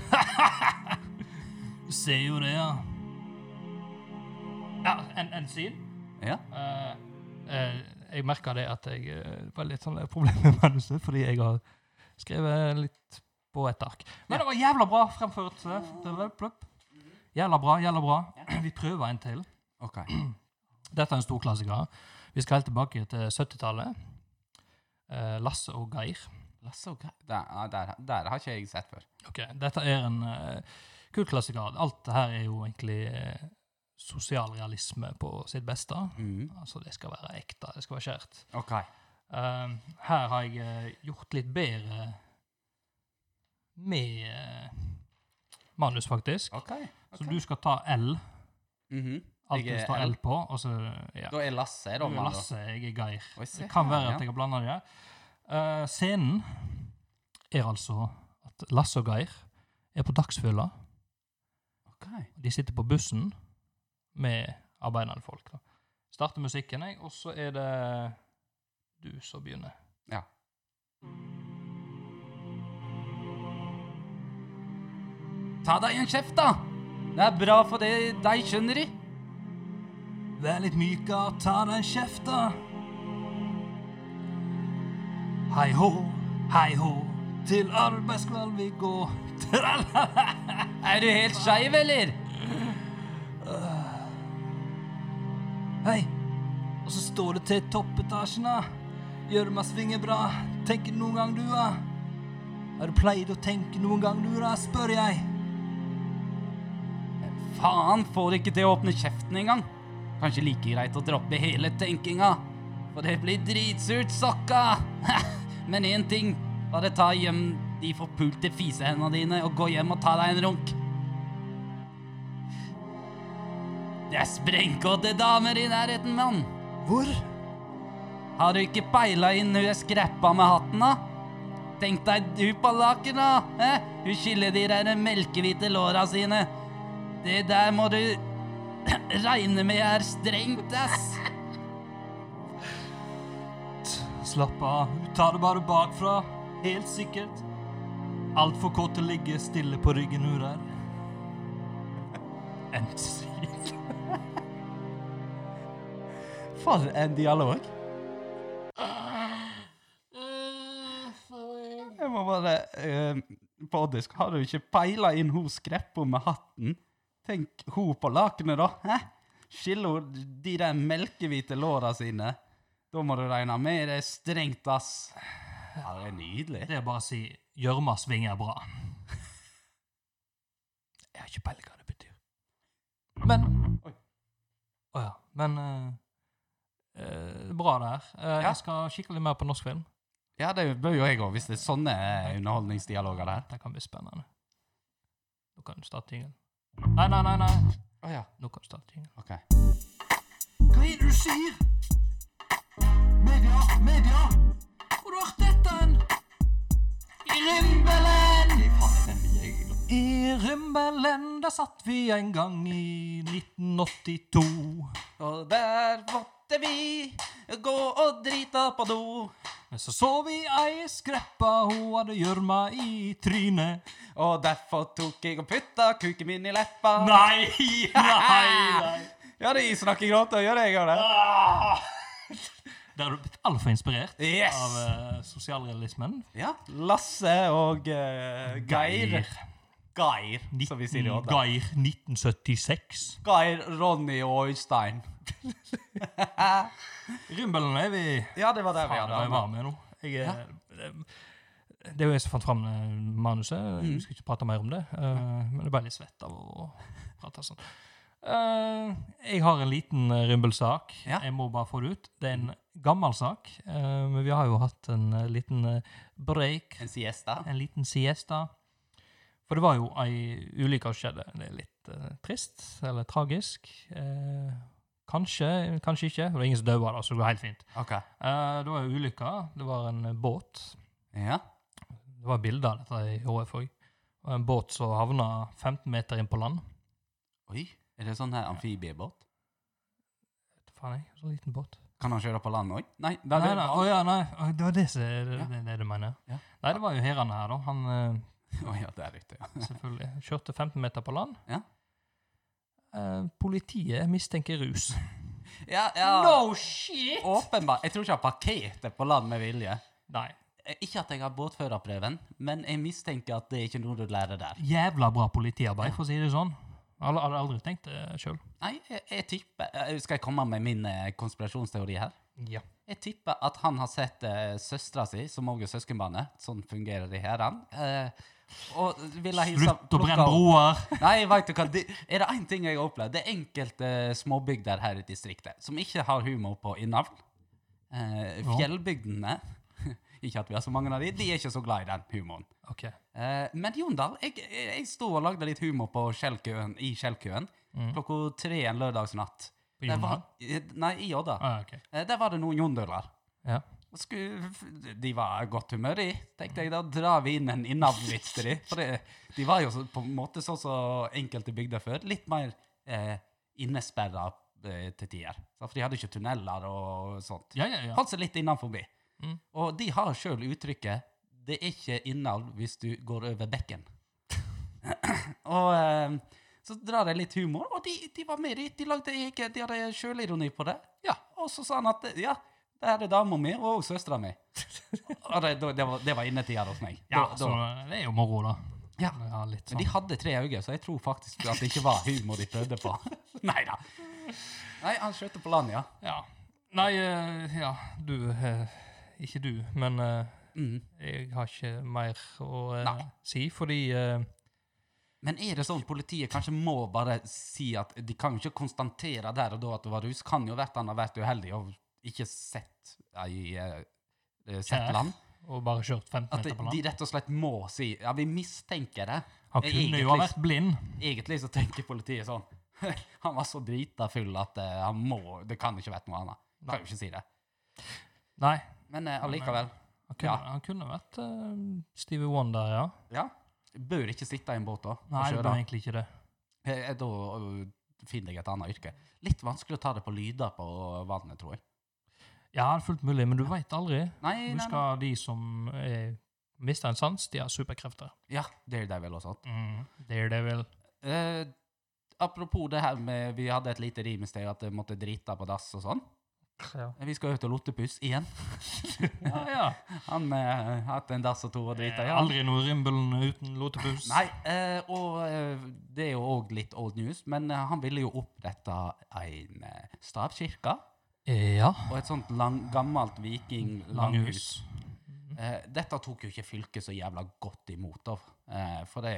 Speaker 2: du ser jo det, ja. Ja, en, en syn?
Speaker 3: Ja.
Speaker 2: Eh, eh, jeg merka det at jeg eh, var litt sånn et problem med manuset, fordi jeg har skrevet litt på et ark. Men det var jævla bra fremført. eh, plupp, plupp. Jævla bra, jævla bra. Vi prøver en til.
Speaker 3: OK.
Speaker 2: Dette er en stor klassiker. Vi skal helt tilbake til 70-tallet. Eh, Lasse og Geir.
Speaker 3: Lasse og Geir der, ja, der, der har ikke jeg sett før.
Speaker 2: Ok, Dette er en uh, kul klassiker. Alt det her er jo egentlig eh, sosial realisme på sitt beste.
Speaker 3: Mm.
Speaker 2: Altså, det skal være ekte, det skal være skjært.
Speaker 3: OK.
Speaker 2: Eh, her har jeg eh, gjort litt bedre med eh, manus, faktisk.
Speaker 3: ok,
Speaker 2: Så du skal ta L.
Speaker 3: Mhm. Mm.
Speaker 2: Alt
Speaker 3: Jeg
Speaker 2: det
Speaker 3: er
Speaker 2: står
Speaker 3: L.
Speaker 2: L på. Og så, ja.
Speaker 3: Da er Lasse, da.
Speaker 2: Du er
Speaker 3: mann, da.
Speaker 2: Lasse, jeg er Geir.
Speaker 3: Oi, se
Speaker 2: Det kan
Speaker 3: her,
Speaker 2: være
Speaker 3: ja.
Speaker 2: at jeg har blanda det. Eh, scenen er altså at Lasse og Geir er på dagsfylla.
Speaker 3: Ok.
Speaker 2: De sitter på bussen med arbeidende folk. Da. Starter musikken, jeg, og så er det du som begynner.
Speaker 3: Ja. Ta deg en kjeft, da! Det er bra for det deg, skjønner du.
Speaker 2: Vær litt mykere, ta deg en kjeft, da. Hei hå, hei hå, til arbeidskveld vi går. Tralala.
Speaker 3: Er du helt skeiv, eller?
Speaker 2: Hei. Og så står det til i toppetasjen, da. Gjørma svinger bra. Tenker du noen gang, du, da? Har du pleid å tenke noen gang, du, da? spør jeg.
Speaker 3: Faen, får ikke til å åpne kjeften engang. Kanskje like greit å droppe hele tenkinga. For det blir dritsurt, sokka! Men én ting. Bare ta hjem de forpulte fisehendene dine og gå hjem og ta deg en runk. Det er sprengkåte damer i nærheten, mann.
Speaker 2: Hvor?
Speaker 3: Har du ikke peila inn hun jeg skrappa med hatten, da? Tenk deg du på laken, da! Eh? Hun skiller de der melkehvite låra sine. Det der må du regne med er strengt, ass.
Speaker 2: Slapp av, du tar det bare bakfra. Helt sikkert. Altfor kort til å ligge stille på ryggen hun der. En svik.
Speaker 3: For en dialog. Jeg må bare eh, På oddisk, har du ikke peila inn hun skreppa med hatten? Tenk hun på lakenet, da. Hæ? Skiller hun de der melkehvite låra sine, da må du regne med det er strengt, ass. Ja, det er nydelig.
Speaker 2: Det er bare å si 'gjørma svinger bra'. Jeg har ikke peiling hva det betyr. Men Å
Speaker 3: Oi.
Speaker 2: ja. Men eh, eh, Bra der. Eh,
Speaker 3: Ja.
Speaker 2: Jeg skal kikke litt mer på norsk film.
Speaker 3: Ja, det bør jo jeg òg, hvis det er sånne underholdningsdialoger der.
Speaker 2: Det kan bli spennende. Nå kan du starte jingelen. Nei, nei, nei, nei.
Speaker 3: Å ja,
Speaker 2: Nå kan du starte jingelen.
Speaker 3: ok.
Speaker 4: Hva er det du sier? Media, media! Hvor har du hørt dette? hen? I rimbelen! Nei, faen, det er den jeg
Speaker 2: I Rimbelen, der satt vi en gang i 1982.
Speaker 3: Og der måtte vi gå og drita på do.
Speaker 2: Men så så vi ei skreppa, hun hadde gjørma i trynet.
Speaker 3: Og derfor tok jeg og putta kuken min i leppa.
Speaker 2: Nei! Nei!
Speaker 3: Ja, det snakker gråte, gjør jeg òg det? Ah!
Speaker 2: Der har du blitt altfor inspirert
Speaker 3: Yes!
Speaker 2: av eh, sosialrealismen.
Speaker 3: Ja. Lasse og eh, Geir. Geir, som vi sier i Odda.
Speaker 2: Geir 1976.
Speaker 3: Geir, Ronny og Øystein.
Speaker 2: Rimbelen er vi
Speaker 3: Ja, det var der vi
Speaker 2: Faen,
Speaker 3: hadde
Speaker 2: jeg var med nå. Jeg, er- det, det er jo jeg som fant fram eh, manuset.
Speaker 3: Mm.
Speaker 2: Vi skal ikke prate mer om det. eh, men det ble litt svett av å prate sånn. Eh, jeg har en liten eh, rymbelsak.
Speaker 3: Ja. Mm.
Speaker 2: Jeg må bare få det ut. Det er en gammel sak. eh, men vi har jo hatt en eh, liten eh, break
Speaker 3: En siesta.
Speaker 2: en liten siesta. For det var jo ei ulykke som skjedde. Det er litt eh, trist, eller tragisk. Eh, kanskje, kanskje ikke. Det var ingen som døde av det, så det går helt fint.
Speaker 3: Ok.
Speaker 2: Eh, det var ei ulykke. Det var en eh, båt.
Speaker 3: Ja.
Speaker 2: Det var bilder av dette i HF òg. Og en båt som havna 15 meter inn på land.
Speaker 3: Oi, er det sånn her amfibiebåt?
Speaker 2: Vet du Faen, jeg. Så liten båt.
Speaker 3: Kan han kjøre på land òg? Nei. da
Speaker 2: Nei,
Speaker 3: er det-
Speaker 2: nei, å ja, nei. å, Det var det som det, det, det du mener.
Speaker 3: Ja.
Speaker 2: Nei, det var jo herrene her, da. Han eh,
Speaker 3: Å ja, der ute, ja.
Speaker 2: selvfølgelig. Kjørte 15 meter på land.
Speaker 3: Ja.
Speaker 2: Eh, politiet mistenker rus.
Speaker 3: ja, ja.
Speaker 2: No shit!
Speaker 3: Åpenbart. Jeg tror ikke han parkerte på land med vilje.
Speaker 2: Nei.
Speaker 3: Eh, Ikke at jeg har båtførerprøven, men jeg mistenker at det er ikke noe du lærer der.
Speaker 2: Jævla bra politiarbeid, for å si det sånn. Alle hadde aldri tenkt det sjøl.
Speaker 3: Nei, jeg, jeg tipper eh, Skal jeg komme med min eh, konspirasjonsteori her?
Speaker 2: Ja.
Speaker 3: Jeg tipper at han har sett uh, søstera si, som òg er søskenbarnet. Sånn fungerer det her. Han. Eh, og ville hilse
Speaker 2: Slutt å
Speaker 3: plukke
Speaker 2: brenne
Speaker 3: opp-
Speaker 2: broer!
Speaker 3: Nei, vet du hva, det, er det én ting jeg har opplevd, det er enkelte eh, småbygder her i distriktet som ikke har humor på innavl. Eh, fjellbygdene Ikke at vi har så mange av de, de er ikke så glad i den humoren.
Speaker 2: Ok.
Speaker 3: Eh, men Jondal, jeg, jeg sto og lagde litt humor på Skjellkøen, i Skjellkøen
Speaker 2: Mm.
Speaker 3: klokka tre en lørdagsnatt.
Speaker 2: På
Speaker 3: Der
Speaker 2: Jondal?
Speaker 3: var- eh, Nei, i Odda.
Speaker 2: Ah, ok.
Speaker 3: Eh, der var det noen jondøler.
Speaker 2: Ja.
Speaker 3: Og skulle, de var i godt humør, de. Tenkte jeg, da drar vi inn en innavlvits til de. For det, de var jo så, på en måte sånn som enkelte bygder før. Litt mer eh, innesperra eh, til tider. Så, For de hadde ikke tunneler og sånt.
Speaker 2: ja, ja, ja.
Speaker 3: Holdt seg litt innenfor.
Speaker 2: Mm.
Speaker 3: Og de har sjøl uttrykket 'det er ikke innavl hvis du går over bekken'. og eh, så drar jeg litt humor, og de, de var med. De, de, lagde, ikke- de hadde sjølironi på det. Ja, Og så sa han at ja, det her er dama mi og søstera mi. og det, da- det, var, det var innetida hos meg.
Speaker 2: ja
Speaker 3: Da-
Speaker 2: så
Speaker 3: da,
Speaker 2: det er jo moro, da.
Speaker 3: Ja.
Speaker 2: Ja, litt
Speaker 3: men de
Speaker 2: sånn.
Speaker 3: hadde tre øyne, så jeg tror faktisk at det ikke var humor de prøvde på. Nei da. Nei, han skjøtte på land, ja.
Speaker 2: sånn, Ja. Nei, eh, ja, du eh, Ikke du, men eh,
Speaker 3: Mm.
Speaker 2: jeg har ikke mer å eh,
Speaker 3: Nei.
Speaker 2: si, fordi eh,
Speaker 3: Men er det sånn politiet kanskje må bare si at de kan jo ikke konstatere der og da at det var rus? Kan jo vært han har vært uheldig og ikke sett ei eh, eh, sett
Speaker 2: Ja,
Speaker 3: land.
Speaker 2: Og bare kjørt 15
Speaker 3: At de,
Speaker 2: meter på
Speaker 3: de
Speaker 2: land.
Speaker 3: rett og slett må si Ja, vi mistenker det.
Speaker 2: Han kunne jo ha vært blind.
Speaker 3: Egentlig så tenker politiet sånn Han var så drita full at eh, han må Det kan ikke vært noe annet. Kan jo ikke si det.
Speaker 2: Nei.
Speaker 3: Men eh, allikevel.
Speaker 2: Han kunne,
Speaker 3: Ja.
Speaker 2: han kunne vært eh, Stevie Wonder, ja.
Speaker 3: ja. Bør ikke sitte i en båt da. og
Speaker 2: Nei, det
Speaker 3: kjøre.
Speaker 2: var egentlig ikke det.
Speaker 3: Eh, Da eh, finner jeg et annet yrke. Litt vanskelig å ta det på lyder på vannet, tror jeg.
Speaker 2: Ja, det er fullt mulig, men du veit aldri.
Speaker 3: Nei, nei,
Speaker 2: Husk
Speaker 3: nei.
Speaker 2: de som eh, mister en sans, de har superkrefter.
Speaker 3: Ja, Daredevil og sånt.
Speaker 2: Daredevil.
Speaker 3: Eh, apropos det her med Vi hadde et lite rim i sted at jeg måtte drite på dass og sånn.
Speaker 2: Ja,
Speaker 3: Vi skal ut og lotepus igjen.
Speaker 2: ja. ja.
Speaker 3: Han har eh, hatt en dass og to og drita i.
Speaker 2: Eh,
Speaker 3: han.
Speaker 2: Aldri noe Rimbelen uten lotepus.
Speaker 3: Nei, eh, og eh, det er jo òg litt old news, men eh, han ville jo opprette en eh, stavkirke
Speaker 2: Eh, Ja.
Speaker 3: og et sånt lang, gammelt viking-langhus.
Speaker 2: Langhus.
Speaker 3: Eh, dette tok jo ikke fylket så jævla godt imot, av, eh, for det,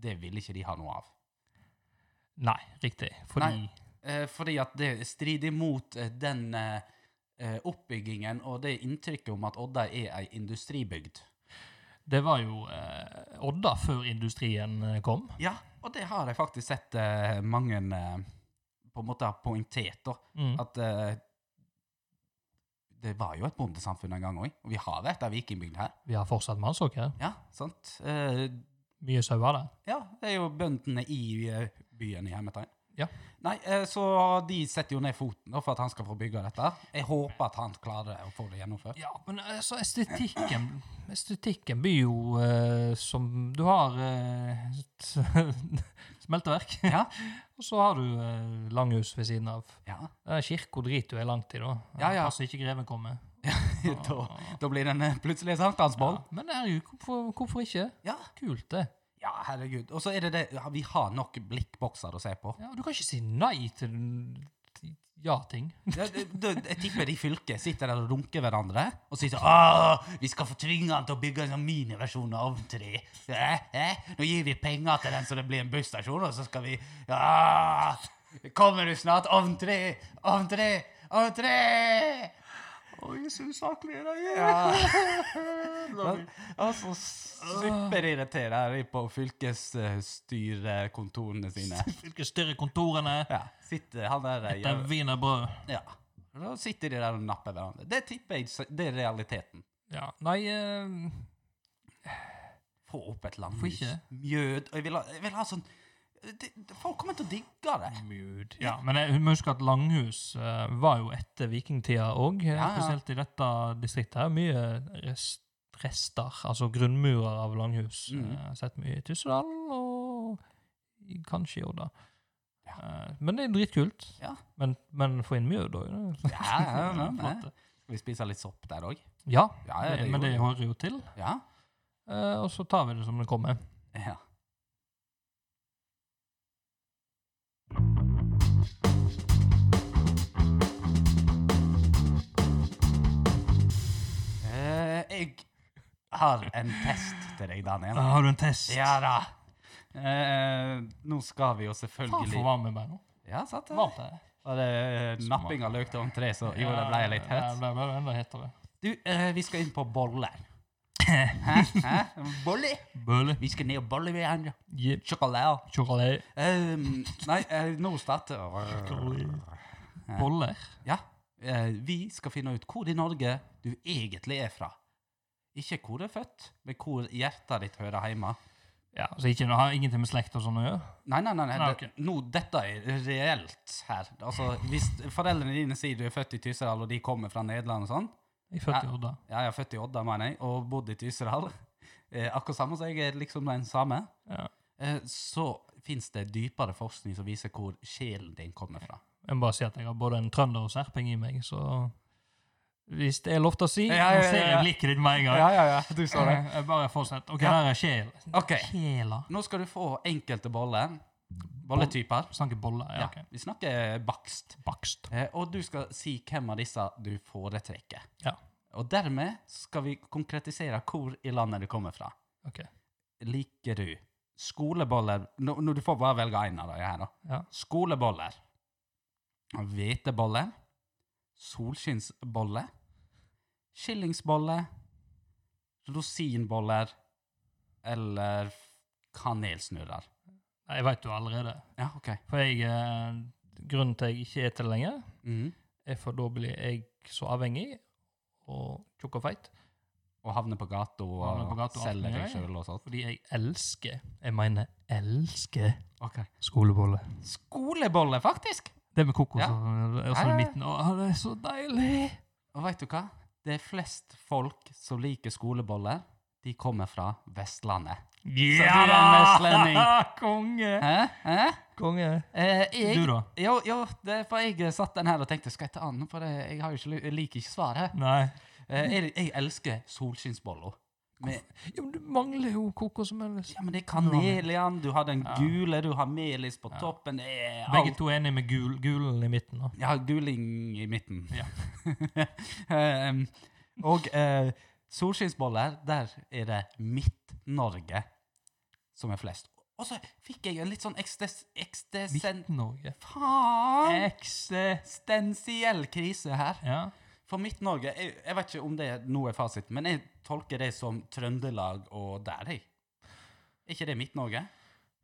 Speaker 3: det ville ikke de ha noe av.
Speaker 2: Nei, riktig. Fordi
Speaker 3: Nei. Eh, fordi at det strider mot eh, den eh, eh, oppbyggingen og det inntrykket om at Odda er ei industribygd.
Speaker 2: det var jo eh, Odda før industrien eh, kom.
Speaker 3: Ja, og det har jeg faktisk sett eh, mange eh, på en måte har poengtert, da.
Speaker 2: Mm.
Speaker 3: At eh, det var jo et bondesamfunn en gang òg, og vi har vært ei vikingbygd her.
Speaker 2: Vi har fortsatt mannsåker.
Speaker 3: Ja, sant? Eh,
Speaker 2: Mye sauer der.
Speaker 3: ja, det er jo bøndene i eh, byen i Hermetegn.
Speaker 2: Ja.
Speaker 3: Nei, eh, så de setter jo ned foten da, for at han skal få bygge dette. Jeg håper at han klarer å få det gjennomført.
Speaker 2: Ja, men altså, estetikken Estetikken blir jo eh, som Du har eh, et smelteverk,
Speaker 3: Ja.
Speaker 2: og så har du eh, langhus ved siden av.
Speaker 3: Ja,
Speaker 2: Eh, Kirka driter jo jeg langt i, da.
Speaker 3: Ja, ja.
Speaker 2: Altså, ikke greven kommer.
Speaker 3: da, da blir det en eh, plutselig sankthansboll.
Speaker 2: Men det er jo hvorfor, hvorfor ikke?
Speaker 3: Ja.
Speaker 2: Kult, det.
Speaker 3: ja, herregud. Og så er det det ja, Vi har nok blikkbokser å se på.
Speaker 2: Ja, og du kan ikke si nei til til ja-ting.
Speaker 3: Ja, det- det- Jeg tipper de i fylket sitter der og runker hverandre og sier sånn «Åh, Vi skal få tvinge han til å bygge en sånn miniversjon av tre. Eh, eh, nå gir vi penger til den så det blir en busstasjon, og så skal vi «Åh, Kommer du snart? Ovn tre! Ovn tre! Ovn tre!
Speaker 2: Oi, så usaklig det
Speaker 3: Ja. Altså, superirriterer er de på fylkesstyrekontorene sine.
Speaker 2: Fylket styrer kontorene.
Speaker 3: Ja, sitter han der eh,
Speaker 2: Det er wienerbrød.
Speaker 3: Ja. Da sitter de der og napper hverandre. Det tipper jeg s- det er realiteten.
Speaker 2: Ja, nei eh,
Speaker 3: Få opp et
Speaker 2: Hvorfor
Speaker 3: landhus.
Speaker 2: ikke?
Speaker 3: Mjød. Og jeg vil ha, jeg vil ha sånn det, det- Folk kommer til å digge det.
Speaker 2: Mjød. Ja, men jeg må huske at Langhus eh, var jo etter vikingtida òg,
Speaker 3: Ja, ja.
Speaker 2: spesielt i dette distriktet. her. Mye rest, rester, altså grunnmurer av langhus. Eh,
Speaker 3: Mhm.
Speaker 2: Jeg har sett mye i Tyssedal og i- kanskje i Odda. Eh, Men det er dritkult.
Speaker 3: Ja.
Speaker 2: Men, men få inn mjød òg.
Speaker 3: Ja, ja, ja, ja.
Speaker 2: Skal
Speaker 3: Skal vi spise litt sopp der òg?
Speaker 2: eh. Ja,
Speaker 3: Ja, ja,
Speaker 2: det,
Speaker 3: det
Speaker 2: men det
Speaker 3: gjorde
Speaker 2: hører jo til.
Speaker 3: Ja.
Speaker 2: Eh, og så tar vi det som det kommer.
Speaker 3: ja. Eh, jeg har en test til deg, Daniel.
Speaker 2: har du en test?
Speaker 3: Ja da. Eh, nå skal vi jo
Speaker 2: Faen, for
Speaker 3: selvfølgelig
Speaker 2: varm jeg ble nå.
Speaker 3: Ja, sant det.
Speaker 2: Varmt det.
Speaker 3: Var det eh, napping av løk til entré, så jo, det ble jeg litt
Speaker 2: Ja,
Speaker 3: hett.
Speaker 2: det ble enda hettere.
Speaker 3: Du, eh, vi skal inn på boller. Hæ? Hæ? Bolle?
Speaker 2: Bøle.
Speaker 3: Vi skal ned og bolle med andre.
Speaker 2: Yeah.
Speaker 3: Sjokolade.
Speaker 2: Sjokolade.
Speaker 3: Um, nei, eh, nå starter
Speaker 2: Boller.
Speaker 3: Ja. Eh, vi skal finne ut hvor i Norge du egentlig er fra. Ikke hvor du er født, men hvor hjertet ditt hører hjemme.
Speaker 2: Ja, altså ikke, det har ingenting med slekt og sånn å gjøre.
Speaker 3: Nei, nei, nei. nei.
Speaker 2: Nei,
Speaker 3: det- Nå, dette er reelt her. Altså, hvis foreldrene dine sier du er født i Tyssedal, og de kommer fra Nederland og sånn
Speaker 2: Jeg er født i
Speaker 3: Ja.
Speaker 2: Odda.
Speaker 3: Ja, jeg er født i Odda, mener jeg, og bodd i Tyssedal. Eh, akkurat samme som jeg er liksom den samme.
Speaker 2: Ja.
Speaker 3: Eh, så fins det dypere forskning som viser hvor sjelen din kommer fra.
Speaker 2: Jeg må bare si at jeg har både en trønder og serping i meg, så Hvis det er lov til å si,
Speaker 3: Ja, ja, ja,
Speaker 2: nå ser
Speaker 3: ja.
Speaker 2: jeg blikket ditt med en gang.
Speaker 3: ja, ja, du
Speaker 2: Eh, jeg bare fortsett. OK, her er sjel.
Speaker 3: Ok.
Speaker 2: Sjela.
Speaker 3: Nå skal du få enkelte boller. Bolletyper.
Speaker 2: Snakker boller. Ja,
Speaker 3: Ja,
Speaker 2: ok.
Speaker 3: vi snakker bakst.
Speaker 2: Bakst.
Speaker 3: Eh, og du skal si hvem av disse du foretrekker.
Speaker 2: Ja.
Speaker 3: Og dermed skal vi konkretisere hvor i landet du kommer fra.
Speaker 2: OK.
Speaker 3: Liker du skoleboller Nå, nå Du får bare velge én av de her, da.
Speaker 2: Ja.
Speaker 3: Skoleboller. Hveteboller. Solskinnsboller. Skillingsboller. Rosinboller. Eller f- kanelsnurrer.
Speaker 2: Nei, Jeg veit jo allerede.
Speaker 3: Ja, OK.
Speaker 2: For jeg, eh, grunnen til jeg ikke eter det lenger,
Speaker 3: Mhm.
Speaker 2: er for da blir jeg så avhengig og tjukk og feit.
Speaker 3: Og havner på gata og,
Speaker 2: Havner på gata og alt
Speaker 3: selger
Speaker 2: mulig,
Speaker 3: deg
Speaker 2: ja.
Speaker 3: sjøl og sånt.
Speaker 2: Fordi jeg elsker, jeg mener elsker,
Speaker 3: Ok.
Speaker 2: skoleboller.
Speaker 3: Skoleboller, faktisk!
Speaker 2: Det med kokos
Speaker 3: Ja.
Speaker 2: og, og sånn i midten. Å, det er så deilig!
Speaker 3: Og veit du hva? Det er flest folk som liker skoleboller, de kommer fra Vestlandet.
Speaker 2: Ja
Speaker 3: du er en
Speaker 2: da!
Speaker 3: vestlending.
Speaker 2: Konge.
Speaker 3: Hæ? Hæ?
Speaker 2: Konge.
Speaker 3: Eh, jeg,
Speaker 2: Du da?
Speaker 3: Jo, jo det, er for jeg eh, satt den her og tenkte skal jeg ta den, for jeg, jeg, har jo ikke, ly- jeg liker ikke svaret.
Speaker 2: Nei.
Speaker 3: Eh, jeg, jeg elsker solskinnsboller. Med,
Speaker 2: Jo, men du mangler jo kokosmelk.
Speaker 3: ja, men det er kanel i den, du har den gule, du har melis på toppen, det er
Speaker 2: Begge
Speaker 3: alt.
Speaker 2: to er enige med gul, gulen i midten. da.
Speaker 3: Jeg har guling i midten. Eh,
Speaker 2: Ja.
Speaker 3: Em, og eh, solskinnsboller, der er det Midt-Norge som er flest. Og så fikk jeg en litt sånn ekstes... ekstesen...
Speaker 2: Midt-Norge.
Speaker 3: Faen!
Speaker 2: Ekse...
Speaker 3: Eksistensiell krise her.
Speaker 2: Ja.
Speaker 3: For Midt-Norge jeg, jeg vet ikke om det er- nå er fasiten, men jeg tolker det som Trøndelag og der, jeg. Er ikke det Midt-Norge?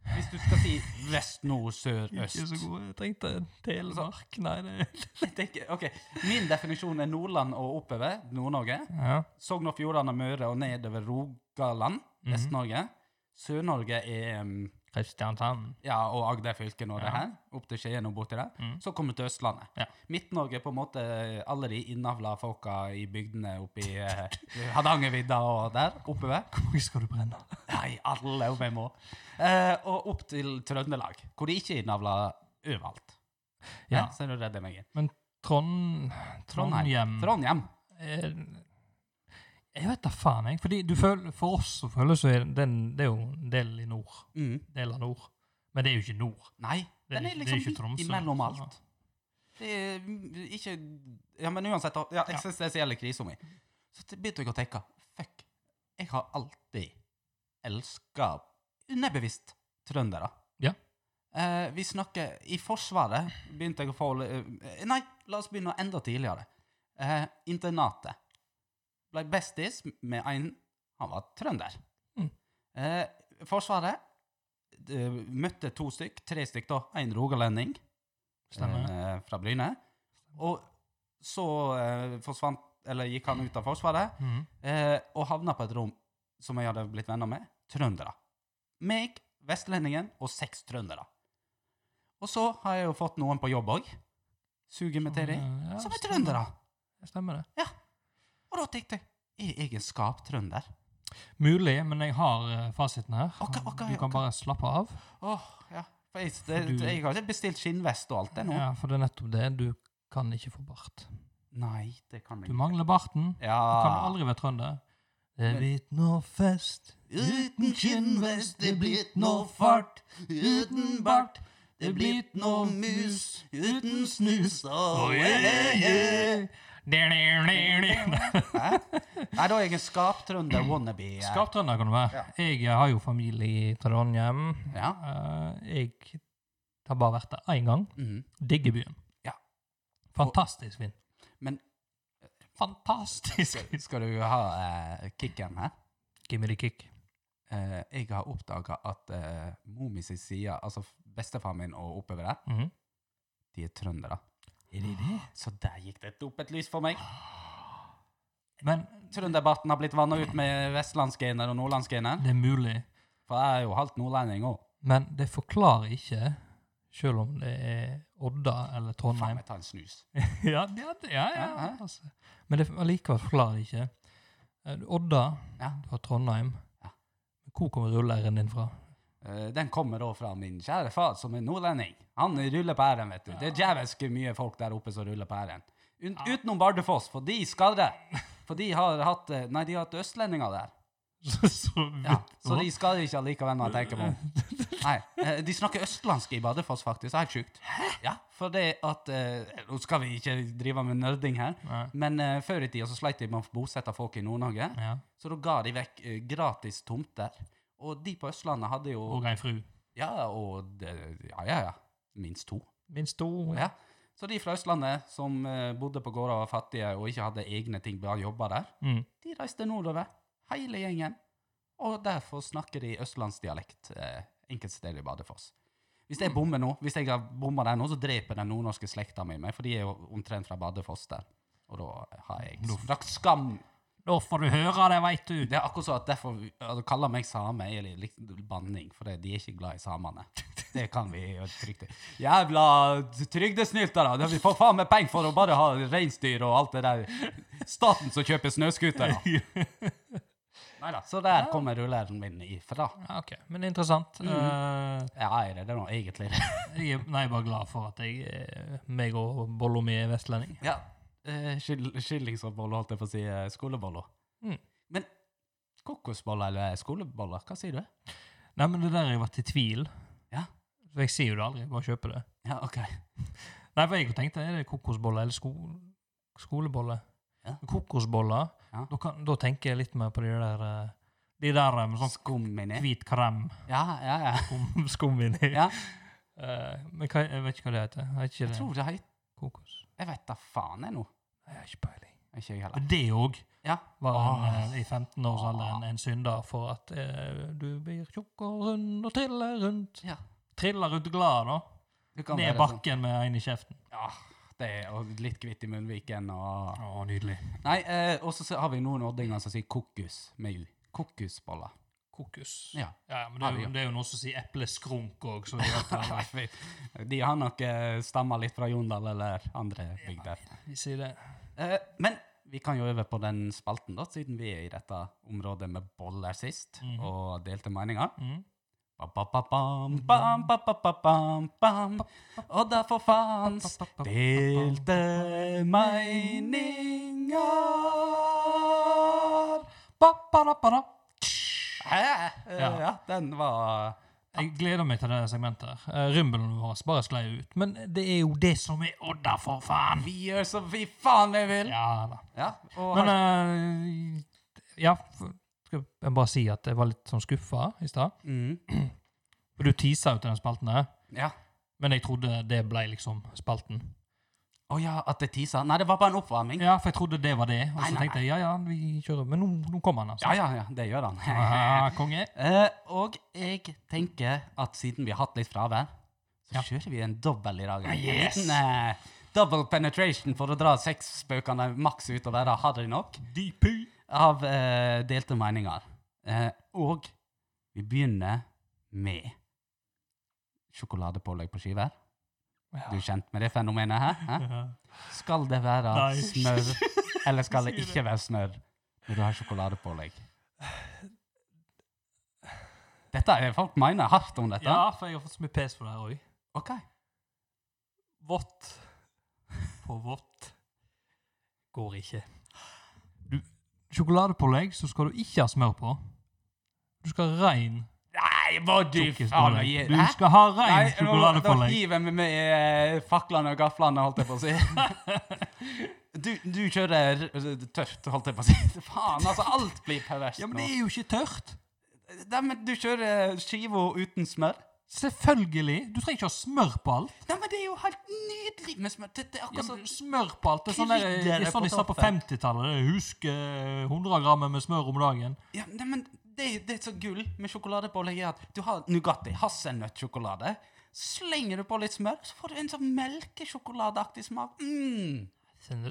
Speaker 3: Hvis du skal si vest, nord, sør, øst.
Speaker 2: Ikke så god. Jeg trengte en telemark. Nei, det
Speaker 3: Jeg tenker, ok, Min definisjon er Nordland og oppover. Nord-Norge.
Speaker 2: ja.
Speaker 3: Sogn og Fjordane, Møre og nedover Rogaland.
Speaker 2: Mhm.
Speaker 3: Vest-Norge. Sør-Norge er um,
Speaker 2: Kristiansand.
Speaker 3: ja, og Agder fylke og det
Speaker 2: Ja.
Speaker 3: her. Opp til Skien og borti der.
Speaker 2: Mm.
Speaker 3: Så kommer du til Østlandet.
Speaker 2: Ja.
Speaker 3: Midt-Norge er på en måte eh, alle de innavla folka i bygdene oppi eh, Hardangervidda og der oppover.
Speaker 2: Hvor mye skal du brenne?
Speaker 3: Nei, alle om jeg må. Eh, og opp til Trøndelag, hvor de ikke er innavla overalt. Ja.
Speaker 2: Ja.
Speaker 3: så er du redder meg inn.
Speaker 2: Trond... Trondheim.
Speaker 3: Trondheim.
Speaker 2: Eh, Jeg vet da faen, jeg. Fordi du føler, For oss så føles det den- Det er jo en del i nord.
Speaker 3: Mm.
Speaker 2: Del av nord. Men det er jo ikke nord.
Speaker 3: Nei,
Speaker 2: Det er
Speaker 3: den
Speaker 2: ikke-
Speaker 3: er
Speaker 2: det er
Speaker 3: liksom
Speaker 2: ikke Tromsø.
Speaker 3: midt imellom alt. Det er mm, ikke Ja, men uansett, da, ja, eksistensielle krisa mi. Så t- begynte jeg å tenke Fuck, jeg har alltid elska underbevisst trøndere.
Speaker 2: Ja.
Speaker 3: Eh, vi snakker I Forsvaret begynte jeg å få eh, Nei, la oss begynne enda tidligere. Eh, internatet. Ble bestis med en Han var trønder.
Speaker 2: Mm.
Speaker 3: Eh, forsvaret eh, møtte to stykk, tre stykk da, en rogalending
Speaker 2: Stemmer.
Speaker 3: eh, fra Bryne. Og så eh, forsvant, eller gikk han ut av Forsvaret
Speaker 2: Mhm.
Speaker 3: eh, og havna på et rom som jeg hadde blitt venner med, trøndere. Meg, vestlendingen og seks trøndere. Og så har jeg jo fått noen på jobb òg, suger meg til dem,
Speaker 2: Eh, Ja,
Speaker 3: som er
Speaker 2: stemmer.
Speaker 3: trøndere.
Speaker 2: Stemmer det.
Speaker 3: Og da tenkte jeg er jeg en skaptrønder?
Speaker 2: Mulig, men jeg har eh, fasiten her.
Speaker 3: Ok, ok,
Speaker 2: du kan
Speaker 3: ok.
Speaker 2: bare slappe av.
Speaker 3: Åh, ja. For jeg, det,
Speaker 2: For du-
Speaker 3: jeg har ikke bestilt skinnvest og alt det nå.
Speaker 2: Ja, For det er nettopp det. Du kan ikke få bart.
Speaker 3: Nei, det kan jeg
Speaker 2: Du
Speaker 3: ikke.
Speaker 2: mangler barten. Du kan
Speaker 3: Ja.
Speaker 2: aldri være trønder. Det
Speaker 3: Ah. Men-
Speaker 2: er blitt nå fest
Speaker 3: Uten skinnvest, det er blitt noe fart. Uten bart, det er blitt noe mus. Uten snus, oh yeah, yeah. Nei, da er jeg en skaptrønder wannabe. eh.
Speaker 2: Skaptrønder kan du være. Jeg eh, har jo familie i Trondheim.
Speaker 3: Ja.
Speaker 2: Eh, Jeg har bare vært der én gang.
Speaker 3: Mhm.
Speaker 2: Digger byen.
Speaker 3: Ja.
Speaker 2: Fantastisk fin.
Speaker 3: Men
Speaker 2: Fantastisk!
Speaker 3: skal du ha eh, kicken her?
Speaker 2: Give me the kick.
Speaker 3: Eh, jeg har oppdaga at uh, mor mi sin side, altså f- bestefar min og oppover der,
Speaker 2: Mhm.
Speaker 3: de er trøndere.
Speaker 2: Er det det?
Speaker 3: Så der gikk det opp et lys for meg.
Speaker 2: Men
Speaker 3: Trønderbarten har blitt vanna ut med vestlandsgener og nordlandsgener.
Speaker 2: det er mulig.
Speaker 3: For jeg er jo halvt nordlending òg.
Speaker 2: Men det forklarer ikke, selv om det er Odda eller
Speaker 3: Faen,
Speaker 2: Trondheim.
Speaker 3: jeg tar en snus.
Speaker 2: Ja, ja, det- ja,
Speaker 3: Ja,
Speaker 2: ja.
Speaker 3: ja.
Speaker 2: Altså. Men det allikevel forklarer det ikke. Eh, Odda,
Speaker 3: Ja.
Speaker 2: du har Trondheim.
Speaker 3: Ja.
Speaker 2: Hvor kommer rulleren din fra?
Speaker 3: Eh, Den kommer da fra min kjære far, som er nordlending. Han ruller på æren, vet du. Det er djevelsk mye folk der oppe som ruller på æren. Un utenom Bardufoss, for de skal det. For de har hatt eh, Nei, de har hatt østlendinger der.
Speaker 2: Så, så,
Speaker 3: Ja, så de skal ikke allikevel når jeg tenker på det. Nei, eh, De snakker østlandsk i Bardufoss, faktisk. Det er helt sjukt. Ja, for det at eh, Nå skal vi ikke drive med nerding her,
Speaker 2: Nei.
Speaker 3: men eh, før i tida så sleit de med å bosette folk i Nord-Norge.
Speaker 2: Ja.
Speaker 3: Så da ga de vekk eh, gratis tomter. Og de på Østlandet hadde jo
Speaker 2: Og ei fru.
Speaker 3: Ja, og det, ja, ja, ja. Minst to.
Speaker 2: Minst to.
Speaker 3: Ja. Så de fra Østlandet som eh, bodde på gårder og var fattige og ikke hadde egne ting, bare jobba der,
Speaker 2: Mm.
Speaker 3: de reiste nordover, hele gjengen. Og derfor snakker de østlandsdialekt eh, enkelte steder i Badefoss. Hvis jeg bommer nå, hvis jeg har bomma der nå, så dreper den nordnorske slekta mi meg, for de er jo omtrent fra Badefoss der. Og da har jeg
Speaker 2: Nå-
Speaker 3: brakt skam.
Speaker 2: Da får du høre det, veit du.
Speaker 3: Det er akkurat sånn at derfor å kalle meg same er litt litt banning, for det- de er ikke glad i samene. Det kan vi jo trygt Jævla trygdesnyltere! da. Vi får faen meg penger for å bare ha reinsdyr og alt det der. Staten som kjøper snøscootere. Neida. Så der kommer rulleren min ifra.
Speaker 2: Ja, ok, Men interessant. Eh,
Speaker 3: Ja, er det det nå, egentlig?
Speaker 2: jeg, er- nei, jeg er bare glad for at jeg, eh, meg og bolla mi er vestlending.
Speaker 3: ja. Eh, skill- Skillingsboller, holdt jeg på å si. eh, Skoleboller.
Speaker 2: Mm.
Speaker 3: Men kokosboller eller skoleboller, hva sier du?
Speaker 2: Nei, men det der har jeg vært i tvil.
Speaker 3: Ja.
Speaker 2: For jeg sier jo det aldri. Jeg bare kjøper det.
Speaker 3: Ja, ok.
Speaker 2: Nei, for jeg tenkte, er det kokosboller eller sko skoleboller?
Speaker 3: Ja.
Speaker 2: Kokosboller,
Speaker 3: Ja.
Speaker 2: da, kan, da tenker jeg litt mer på de der eh, De der eh, med sånn
Speaker 3: Skumminé.
Speaker 2: hvit krem
Speaker 3: Ja, ja, ja.
Speaker 2: skum, skum inni.
Speaker 3: Ja.
Speaker 2: Eh, men hva, jeg vet ikke hva det heter. Er ikke
Speaker 3: Jeg
Speaker 2: det
Speaker 3: tror det heter
Speaker 2: kokos?
Speaker 3: Jeg vet da faen jeg nå.
Speaker 2: Nei, Jeg har ikke peiling.
Speaker 3: Ikke jeg heller.
Speaker 2: Men det òg
Speaker 3: Ja.
Speaker 2: var en,
Speaker 3: Åh.
Speaker 2: eh, i 15-årsalderen en synder for at eh, du blir tjukk og rund og triller rundt.
Speaker 3: Ja.
Speaker 2: Triller rundt glad, da.
Speaker 3: Du kan
Speaker 2: Ned
Speaker 3: være sånn.
Speaker 2: bakken med en i kjeften.
Speaker 3: Ja, det er og litt kvitt i munnviken og
Speaker 2: Å, nydelig.
Speaker 3: Nei, eh, og så s- har vi noen oddinger som sier kokos med u. Kokosboller.
Speaker 2: Kokos.
Speaker 3: Ah, Ja.
Speaker 2: Ja, men det er, jo, det er jo noen som sier epleskrunk òg, så vi vet
Speaker 3: Nei,
Speaker 2: at
Speaker 3: vi- De har nok eh, stamma litt fra Jondal eller andre bygder.
Speaker 2: vi sier det.
Speaker 3: Eh, men vi kan jo over på den spalten, da, siden vi er i dette området med boller sist,
Speaker 2: Mhm.
Speaker 3: og delte meninger.
Speaker 2: Mhm.
Speaker 3: Ba, ba, ba, bam, bam, ba, ba, ba, bam, bam. Og derfor fanns delte meninger. Ba, ba, da, ba, da. Hæ? Eh,
Speaker 2: Ja.
Speaker 3: Ja, den var
Speaker 2: Jeg gleder meg til det segmentet. her. Eh, Rymbelen vår bare sklei ut. Men det er jo det som er Odda, for faen!
Speaker 3: Vi gjør som vi faen vi vil! Ja,
Speaker 2: Ja da.
Speaker 3: og
Speaker 2: Men
Speaker 3: her,
Speaker 2: eh, Ja, for- skal jeg bare si at jeg var litt sånn skuffa i stad.
Speaker 3: mm,
Speaker 2: For Du tisa jo til den spalten her,
Speaker 3: ja.
Speaker 2: men jeg trodde det ble liksom spalten.
Speaker 3: Å ja, at det tisa? Nei, det var bare en oppvarming.
Speaker 2: Ja, for jeg trodde det var det. Og
Speaker 3: Nei,
Speaker 2: så
Speaker 3: nei,
Speaker 2: tenkte jeg ja ja, vi kjører. Men nå, nå kommer han, altså.
Speaker 3: Ja, ja, ja, det gjør han.
Speaker 2: Ah, konge.
Speaker 3: Eh, og jeg tenker at siden vi har hatt litt fravær, så
Speaker 2: Ja.
Speaker 3: kjører vi en dobbel i dag.
Speaker 2: Ah, yes!
Speaker 3: En liten, eh, double penetration for å dra sexspøkene maks ut og være harry nok
Speaker 2: DP.
Speaker 3: av eh, delte meninger. Eh, og vi begynner med sjokoladepålegg på skiver.
Speaker 2: Ja.
Speaker 3: Du er kjent med det fenomenet her? hæ?
Speaker 2: Ja.
Speaker 3: Skal det være
Speaker 2: Nei.
Speaker 3: smør, eller skal det
Speaker 2: Sier
Speaker 3: ikke være smør når du har sjokoladepålegg? Dette er Folk mener hardt om dette.
Speaker 2: Ja, for jeg har fått så mye pes for det her òg.
Speaker 3: Ok.
Speaker 2: Vått på vått går ikke. Du, sjokoladepålegg så skal du ikke ha smør på. Du skal ha rein
Speaker 3: Nei, må du faen
Speaker 2: sjokoladepålegg.
Speaker 3: gi
Speaker 2: Du skal ha rein
Speaker 3: Nei, nå- Da
Speaker 2: sjokoladepålegg.
Speaker 3: hiver vi med eh, faklene og gaflene, holdt jeg på å si. Du, du kjører eh, tørt, holdt jeg på å si. Faen, altså. Alt blir perverst
Speaker 2: Ja, men
Speaker 3: nå.
Speaker 2: det er jo ikke tørt.
Speaker 3: Nei, men du kjører eh, skiva uten smør.
Speaker 2: Selvfølgelig. Du trenger ikke ha smør på alt.
Speaker 3: Nei, men det er jo helt nydelig med smør. Det, det er
Speaker 2: Ja,
Speaker 3: akkurat sånn
Speaker 2: men smør på alt. Det er sånn, der, det
Speaker 3: Krydder
Speaker 2: er sånn de sa på
Speaker 3: på toppen.
Speaker 2: 50-tallet. Det er, Husk eh, 100 gram med smør om dagen.
Speaker 3: Ja, nei, men det, det er så gull med sjokoladepålegg er at du har Nugatti, hasselnøttsjokolade. Slenger du på litt smør, så får du en sånn melkesjokoladeaktig smak. Mm.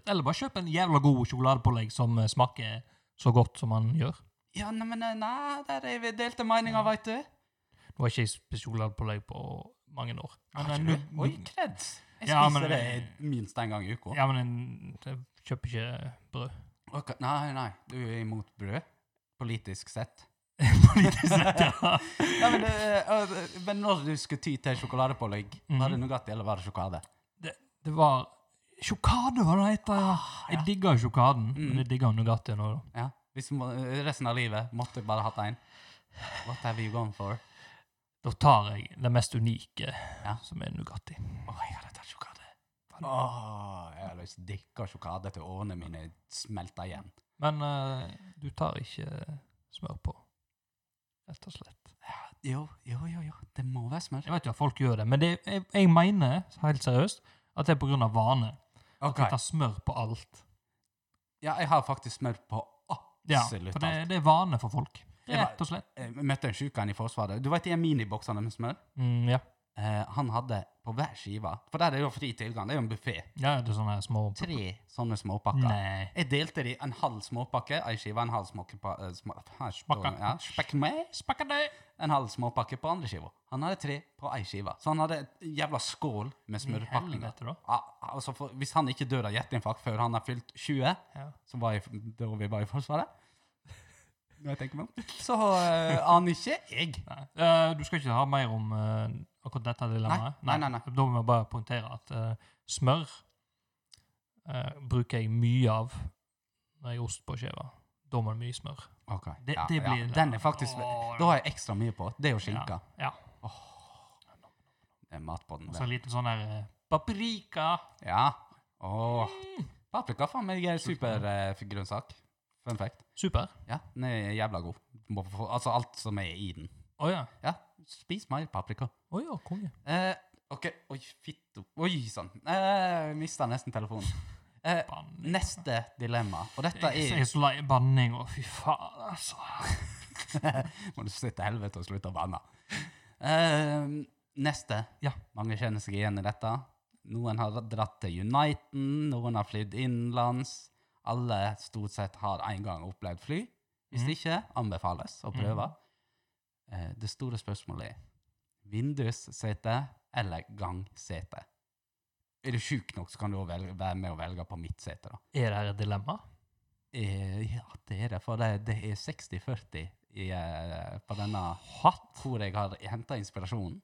Speaker 2: Eller bare kjøp en jævla god sjokoladepålegg som eh, smaker så godt som man gjør.
Speaker 3: Ja, nei, men eh, nei, der er vi delte meninger, veit du.
Speaker 2: Nå har ikke jeg spist sjokoladepålegg på mange år. Men eh,
Speaker 3: Har
Speaker 2: en
Speaker 3: ikke du?
Speaker 2: nugg-
Speaker 3: Oi, kreds. Jeg
Speaker 2: Ja,
Speaker 3: spiser
Speaker 2: men-
Speaker 3: det minst en gang i uka.
Speaker 2: Ja, men en, jeg kjøper ikke brød.
Speaker 3: Ok, Nei, nei, du er imot brød. Politisk sett.
Speaker 2: Politisk sett, ja.
Speaker 3: Nei, men, det- øh, men når du skulle ty til sjokoladepålegg, var
Speaker 2: Mhm.
Speaker 3: det Nugatti eller var det sjokolade?
Speaker 2: Det, det var Sjokade, hva det heter. Ah, ja. Mm. Jeg digga jo sjokaden, men jeg digga Nugatti nå, da.
Speaker 3: Ja. Hvis må, resten av livet måtte jeg bare hatt én. What have you gone for?
Speaker 2: Da tar jeg det mest unike,
Speaker 3: Ja.
Speaker 2: som er Nugatti.
Speaker 3: Å, jeg hadde tatt sjokolade. Å, Ah, jeg har lyst til å drikke sjokolade til årene mine smelter igjen.
Speaker 2: Men eh, du tar ikke smør på, rett og slett.
Speaker 3: Jo, jo, jo, jo. Det må være smør.
Speaker 2: Jeg vet jo at folk gjør det, men det, jeg, jeg mener helt seriøst at det er på grunn av vane.
Speaker 3: Ok.
Speaker 2: Jeg tar smør på alt.
Speaker 3: Ja, jeg har faktisk smør på
Speaker 2: Ja,
Speaker 3: absolutt
Speaker 2: for det,
Speaker 3: alt.
Speaker 2: det er vane for folk,
Speaker 3: Jeg var-
Speaker 2: rett og slett.
Speaker 3: Jeg møtte en sjuk en i Forsvaret. Du vet de miniboksene med smør?
Speaker 2: Mm, ja.
Speaker 3: Eh, han hadde på hver skive For der er jo fri tilgang. Det er jo en buffé.
Speaker 2: ja, det er sånne her små
Speaker 3: Tre sånne småpakker.
Speaker 2: Nei.
Speaker 3: Jeg delte de en halv småpakke, ei skive, en halv småpakke eh, små,
Speaker 2: Smakka.
Speaker 3: Ja, spekme-
Speaker 2: Spakkadøy!
Speaker 3: en halv småpakke på andre skiva. Han hadde tre på ei skive. Så han hadde et jævla skål med smørpakninger.
Speaker 2: Helvete, da.
Speaker 3: Ja, altså for, hvis han ikke dør av hjerteinfarkt før han har fylt 20,
Speaker 2: Ja.
Speaker 3: som var i, da vi var i Forsvaret Når jeg tenker meg om. Så eh, aner ikke jeg.
Speaker 2: Nei. Eh, du skal ikke ha mer om eh, akkurat dette dilemmaet?
Speaker 3: Nei, nei, nei, nei.
Speaker 2: Da må jeg bare poengtere at eh, smør eh, bruker jeg mye av når jeg har ost på skiva. Da må det mye smør.
Speaker 3: Ok,
Speaker 2: Det- det blir det.
Speaker 3: Den er faktisk
Speaker 2: Åh.
Speaker 3: Da har jeg ekstra mye på. Det er jo skinka.
Speaker 2: Ja.
Speaker 3: Det er matpodden.
Speaker 2: Og så
Speaker 3: det.
Speaker 2: en liten sånn der eh, paprika. Mm.
Speaker 3: Ja. Åh. Paprika faen meg er supergrønnsak. Fun fact.
Speaker 2: Super.
Speaker 3: Ja, den er jævla god. Må få- Altså alt som er i den.
Speaker 2: Å ja.
Speaker 3: Ja, spis mer paprika.
Speaker 2: Å ja, konge.
Speaker 3: Eh, OK. Oi, fitto. Oi sann. Eh, Mista nesten telefonen. Eh,
Speaker 2: Banning.
Speaker 3: neste dilemma, og dette
Speaker 2: Jeg er
Speaker 3: er
Speaker 2: så lei banning og fy faen, altså.
Speaker 3: Må du sitte i helvete og slutte å banne. Eh, neste.
Speaker 2: Ja.
Speaker 3: Mange kjenner seg igjen i dette. Noen har dratt til Uniten, noen har flydd innenlands. Alle stort sett har en gang opplevd fly. Hvis
Speaker 2: Mhm.
Speaker 3: ikke, anbefales å prøve. Eh, det store spørsmålet er vindussete eller gangsete. Er du sjuk nok, så kan du også velge, være med og velge på mitt sete. da.
Speaker 2: Er det her et dilemma?
Speaker 3: Eh, ja, det er det, for det, det er 60-40 i, eh, på denne
Speaker 2: Hatt?
Speaker 3: hvor jeg har henta inspirasjonen.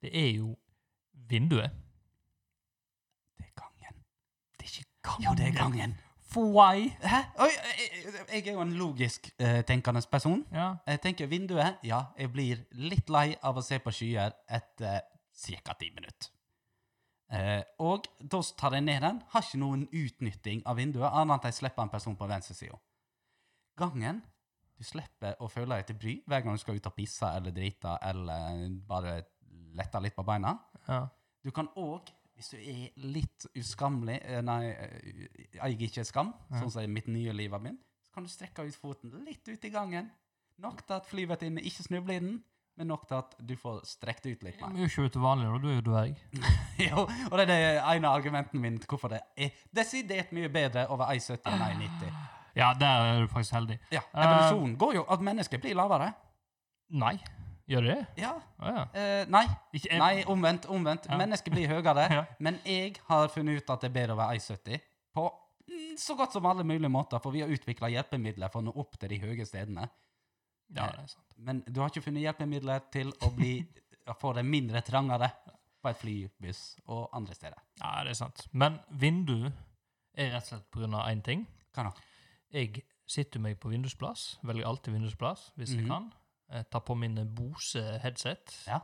Speaker 2: Det er jo vinduet.
Speaker 3: Det er gangen.
Speaker 2: Det er ikke gangen.
Speaker 3: Jo, det er gangen.
Speaker 2: Why?
Speaker 3: Hæ? Oi, jeg, jeg er jo en logisk eh, tenkende person.
Speaker 2: Ja.
Speaker 3: Jeg tenker vinduet. Ja, jeg blir litt lei av å se på skyer etter ca. ti minutter. Eh, og da tar jeg ned den. Har ikke noen utnytting av vinduet, annet enn at jeg slipper en person på venstresida. Gangen Du slipper å føle deg til bry hver gang du skal ut og pisse eller drite eller bare lette litt på beina.
Speaker 2: ja.
Speaker 3: Du kan òg, hvis du er litt uskammelig eh, Nei, eh, jeg eier ikke skam, sånn som i mitt nye liv har begynt, så kan du strekke ut foten litt ut i gangen. Nok til at flyvertinnen ikke snubler i den, men nok til at du får strekt ut litt
Speaker 2: Men Du
Speaker 3: mer.
Speaker 2: er jo ikke til vanlig, da. Du er jo dverg.
Speaker 3: jo, og det er det ene argumentet min til hvorfor det er desidert mye bedre over 1,70 enn 1,90.
Speaker 2: Ja, der er du faktisk heldig.
Speaker 3: Ja, evolusjonen går jo at mennesket blir lavere.
Speaker 2: Nei. Gjør det det?
Speaker 3: Ja.
Speaker 2: Å ja.
Speaker 3: eh, nei.
Speaker 2: Ikke, jeg-
Speaker 3: Nei, omvendt. Omvendt.
Speaker 2: Ja.
Speaker 3: Mennesket blir høyere.
Speaker 2: Ja.
Speaker 3: Men jeg har funnet ut at det er bedre å være 1,70 på mm, så godt som alle mulige måter, for vi har utvikla hjelpemidler for å nå opp til de høye stedene.
Speaker 2: Ja, det er sant.
Speaker 3: Men du har ikke funnet hjelpemidler til å, bli, å få det mindre trangere på et fly, buss og andre steder.
Speaker 2: Ja, det er sant. Men vindu er rett og slett på grunn av én ting.
Speaker 3: Hva da?
Speaker 2: Jeg sitter meg på vindusplass, velger alltid vindusplass hvis jeg
Speaker 3: Mhm.
Speaker 2: kan. Jeg tar på mine Bose-headset.
Speaker 3: Ja.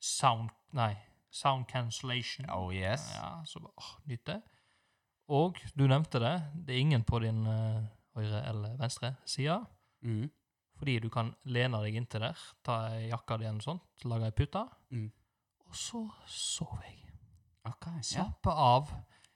Speaker 2: Sound Nei, sound cancellation.
Speaker 3: Oh yes.
Speaker 2: Ja, så bare, åh, nyt det. Og du nevnte det, det er ingen på din eh, høyre eller venstre side,
Speaker 3: Mm.
Speaker 2: fordi du kan lene deg inntil der, ta ei jakka di eller sånt, lage ei pute,
Speaker 3: Mm.
Speaker 2: og så sover jeg.
Speaker 3: Ok, ja.
Speaker 2: Slappe av.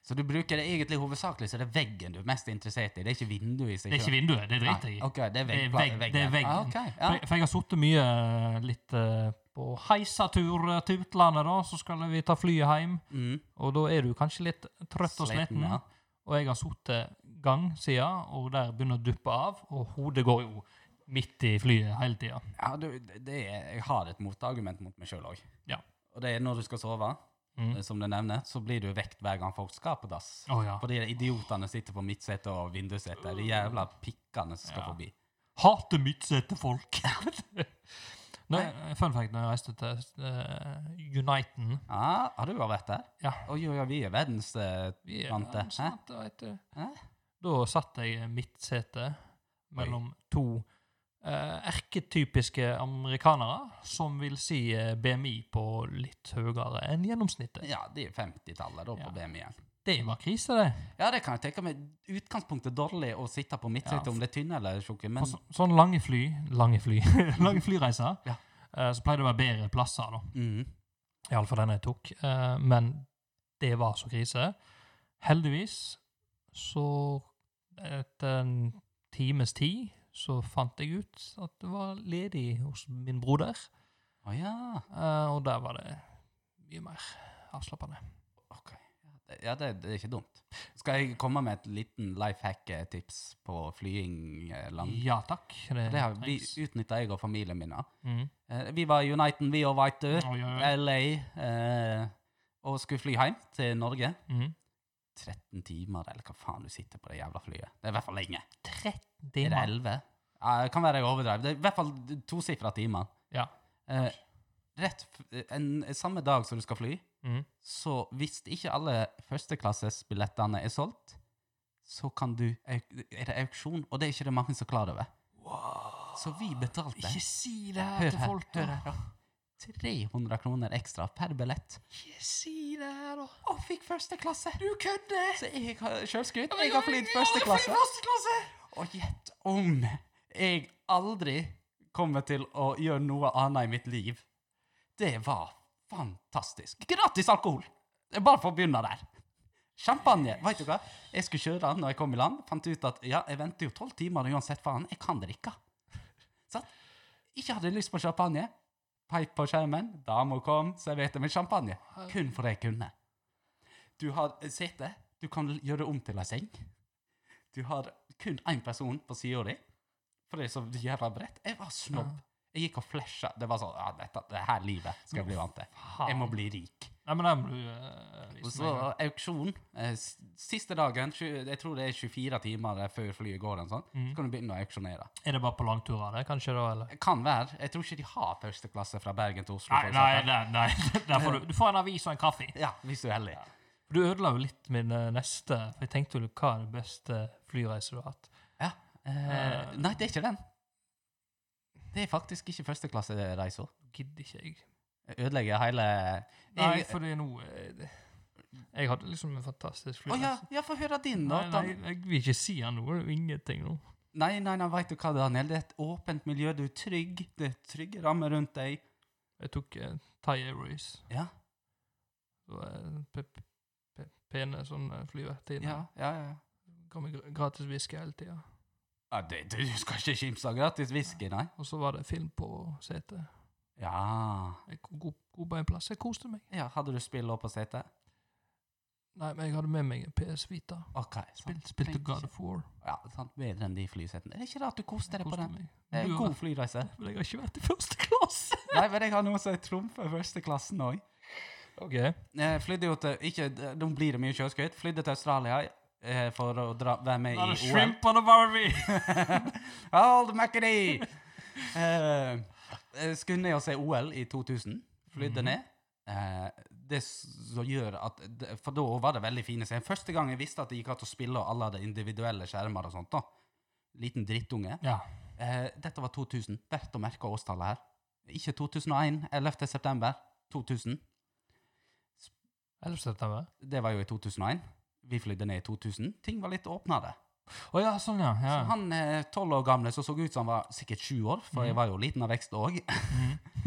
Speaker 3: Så du bruker det egentlig hovedsakelig, så det er veggen du er mest interessert i? Det er ikke vinduet i seg
Speaker 2: Det er ikke vinduet, det driter jeg i.
Speaker 3: Nei, ok, det er, vegg,
Speaker 2: Det er vegg- det er veggen.
Speaker 3: Ah, ok, ja.
Speaker 2: For, jeg- for jeg har sittet mye eh, litt eh, på heisatur eh, til utlandet, da, så skal vi ta flyet hjem.
Speaker 3: Mm.
Speaker 2: Og da er du kanskje litt trøtt og sliten.
Speaker 3: ja.
Speaker 2: Og jeg har sittet gangsida, og der begynner å duppe av, og hodet går jo midt i flyet hele tida.
Speaker 3: Ja, du, det det er, jeg har et motargument mot meg sjøl òg.
Speaker 2: Ja.
Speaker 3: Og det er når du skal sove,
Speaker 2: Mm.
Speaker 3: eh, som du nevner, så blir du vekt hver gang folk skal på dass.
Speaker 2: Å, ja.
Speaker 3: Fordi idiotene sitter på midtsetet og vindussete. De jævla pikkene som skal
Speaker 2: Ja.
Speaker 3: forbi.
Speaker 2: Hater midtsete folk! Når- Fun fact når jeg reiste til eh, Uniten
Speaker 3: Ja, har du vært der?
Speaker 2: Ja.
Speaker 3: Oi, oi, oi, vi er verdens eh,
Speaker 2: Vi er
Speaker 3: Vant det,
Speaker 2: vant, sant, det vet du.
Speaker 3: Hæ?
Speaker 2: Da satt jeg i midtsete mellom to eh, erketypiske amerikanere som vil si eh, BMI på litt høyere enn gjennomsnittet.
Speaker 3: Ja, de er 50-tallet da på
Speaker 2: Ja.
Speaker 3: BMI-en.
Speaker 2: Det var krise, det.
Speaker 3: Ja, det kan jeg tenke meg. Utgangspunktet dårlig å sitte på midtsetet
Speaker 2: Ja.
Speaker 3: om det er tynne eller tjukke, men
Speaker 2: På så, sånn lange fly Lange fly Lange flyreiser
Speaker 3: Ja.
Speaker 2: eh, Så pleier det å være bedre plasser da
Speaker 3: Mhm.
Speaker 2: I alle fall den jeg tok eh, Men det var så krise Heldigvis Så etter en times tid Så fant jeg ut At det var ledig hos min broder
Speaker 3: Å ja.
Speaker 2: eh, Og der var det Mye mer avslappende
Speaker 3: Ok. Ja, det, det er ikke dumt. Skal jeg komme med et liten life hack-tips på flying eh, lang?
Speaker 2: Ja takk Det,
Speaker 3: Det har vi
Speaker 2: trengs.
Speaker 3: utnytta, jeg og familien min. da.
Speaker 2: mm.
Speaker 3: Eh, Vi var i Uniten, vi og veit du.
Speaker 2: Oi, oi, oi.
Speaker 3: LA. Eh, og skulle fly hjem til Norge.
Speaker 2: Mm.
Speaker 3: 13 timer, eller hva faen du sitter på det jævla flyet. Det er i hvert fall lenge.
Speaker 2: 13
Speaker 3: Er det
Speaker 2: timer
Speaker 3: 11? Ja, det kan være jeg overdrev. Det er i hvert fall tosifra timer.
Speaker 2: Ja.
Speaker 3: Eh, rett f- en, Samme dag som du skal fly,
Speaker 2: Mhm.
Speaker 3: så hvis ikke alle førsteklassesbillettene er solgt, så kan du, au- er det auksjon, og det er ikke det mange som er klar over. Så vi betalte
Speaker 2: Ikke si det her
Speaker 3: hør
Speaker 2: til
Speaker 3: her,
Speaker 2: folk,
Speaker 3: hør
Speaker 2: da.
Speaker 3: her, da. 300 kroner ekstra per billett.
Speaker 2: Ikke si det her, da.
Speaker 3: Og fikk første klasse!
Speaker 2: Du kødder!
Speaker 3: Så jeg har sjølskryt.
Speaker 2: Ja, men
Speaker 3: Jeg har flydd første
Speaker 2: aldri
Speaker 3: klasse.
Speaker 2: flydd første klasse!
Speaker 3: Og gjett om jeg aldri kommer til å gjøre noe annet i mitt liv. Det var fantastisk. Gratis alkohol! Det er Bare for å begynne der. Champagne. Vet du hva? Jeg skulle kjøre den når jeg kom i land. Fant ut at ja, jeg venter jo tolv timer uansett, faen. Jeg kan drikke. Sant? Ikke hadde lyst på champagne. Peip på skjermen. Dama kom, serverte meg champagne. Kun for det jeg kunne. Du har sete. Du kan gjøre om til ei seng. Du har kun én person på sida di, for det er så jævla bredt. Jeg var snobb. Jeg gikk og flasha. Det var sånn ja, dette, det her livet skal jeg bli vant til. Jeg må bli rik.
Speaker 2: Nei, men den må du eh,
Speaker 3: Og
Speaker 2: vise
Speaker 3: så
Speaker 2: meg.
Speaker 3: auksjon. eh, s- Siste dagen, tju- jeg tror det er 24 timer eh, før flyet går, en sånn,
Speaker 2: Mm.
Speaker 3: så kan du begynne å auksjonere.
Speaker 2: Er det bare på langturer, det? Kanskje, da? eller?
Speaker 3: Det Kan være. Jeg tror ikke de har førsteklasse fra Bergen til Oslo. for
Speaker 2: Nei, nei,
Speaker 3: eksempel.
Speaker 2: nei. nei. Der får du, du får en avis og en kaffe.
Speaker 3: Ja, hvis du er heldig.
Speaker 2: Du ødela jo litt min eh, neste, for jeg tenkte jo hva er den beste flyreisen du har hatt?
Speaker 3: Ja. Eh, nei, det er ikke den. Det er faktisk ikke førsteklassereisa.
Speaker 2: Gidder ikke jeg.
Speaker 3: Jeg Ødelegger hele
Speaker 2: Nei,
Speaker 3: Jeg-
Speaker 2: fordi nå eh, det- Jeg hadde liksom en fantastisk
Speaker 3: Å ja,
Speaker 2: flyreise.
Speaker 3: ja, få høre din, da.
Speaker 2: Nei, nei, jeg vil ikke si han noe. Det er jo ingenting nå.
Speaker 3: Nei, nei, nei, veit du hva, Daniel? Det er et åpent miljø. Du er trygg. Det er trygge rammer rundt deg.
Speaker 2: Jeg tok eh, Thai Airways.
Speaker 3: Ja,
Speaker 2: Det var eh, pe- pe- pe- pene sånne flyvertinner.
Speaker 3: ja, ja. ja.
Speaker 2: Ga meg gr- gratis whisky hele tida.
Speaker 3: ja det, du skal ikke kimse av gratis whisky, nei?
Speaker 2: Og så var det film på setet.
Speaker 3: Ja.
Speaker 2: Jeg kom god, god på en plass. Jeg koste meg.
Speaker 3: ja. Hadde du spill opp på setet?
Speaker 2: Nei, men jeg hadde med meg en PS Vita.
Speaker 3: OK.
Speaker 2: Spil,
Speaker 3: sant.
Speaker 2: spilte
Speaker 3: Tenk
Speaker 2: God
Speaker 3: ikke-
Speaker 2: of War.
Speaker 3: Ja, sant. Bedre enn de flysetene. Er det ikke rart du koste deg på
Speaker 2: Koste
Speaker 3: den?
Speaker 2: meg.
Speaker 3: Det er
Speaker 2: Du
Speaker 3: en
Speaker 2: har
Speaker 3: god
Speaker 2: vært-
Speaker 3: flyreise.
Speaker 2: Men jeg har ikke vært i første klasse!
Speaker 3: Nei, men jeg har noe som trumfer førsteklassen òg.
Speaker 2: OK.
Speaker 3: Jeg Eh, flydde jo til ikke, Nå blir det mye sjøskudd. Flydde til Australia eh, for å dra, være med
Speaker 2: Da er det
Speaker 3: i OL.
Speaker 2: shrimp on a barbie!
Speaker 3: Hold Mackenny! Eh, eh, skulle ned og se OL i 2000. Flydde
Speaker 2: Mhm.
Speaker 3: ned. Eh, det s- som gjør at det- For da var det veldig fine scener. Første gang jeg visste at det gikk an å spille, og alle hadde individuelle skjermer og sånt. da. Liten drittunge.
Speaker 2: Ja.
Speaker 3: Eh, dette var 2000. Verdt å merke årstallet her. Ikke 2001. 11. september 2000.
Speaker 2: 11. september.
Speaker 3: Det var jo i 2001. Vi flydde ned i 2000. Ting var litt åpnere.
Speaker 2: Å ja, sånn, ja. ja.
Speaker 3: Så han eh, 12 år gamle som så ut som han var sikkert sju år,
Speaker 2: Mhm.
Speaker 3: for jeg var jo liten av vekst òg,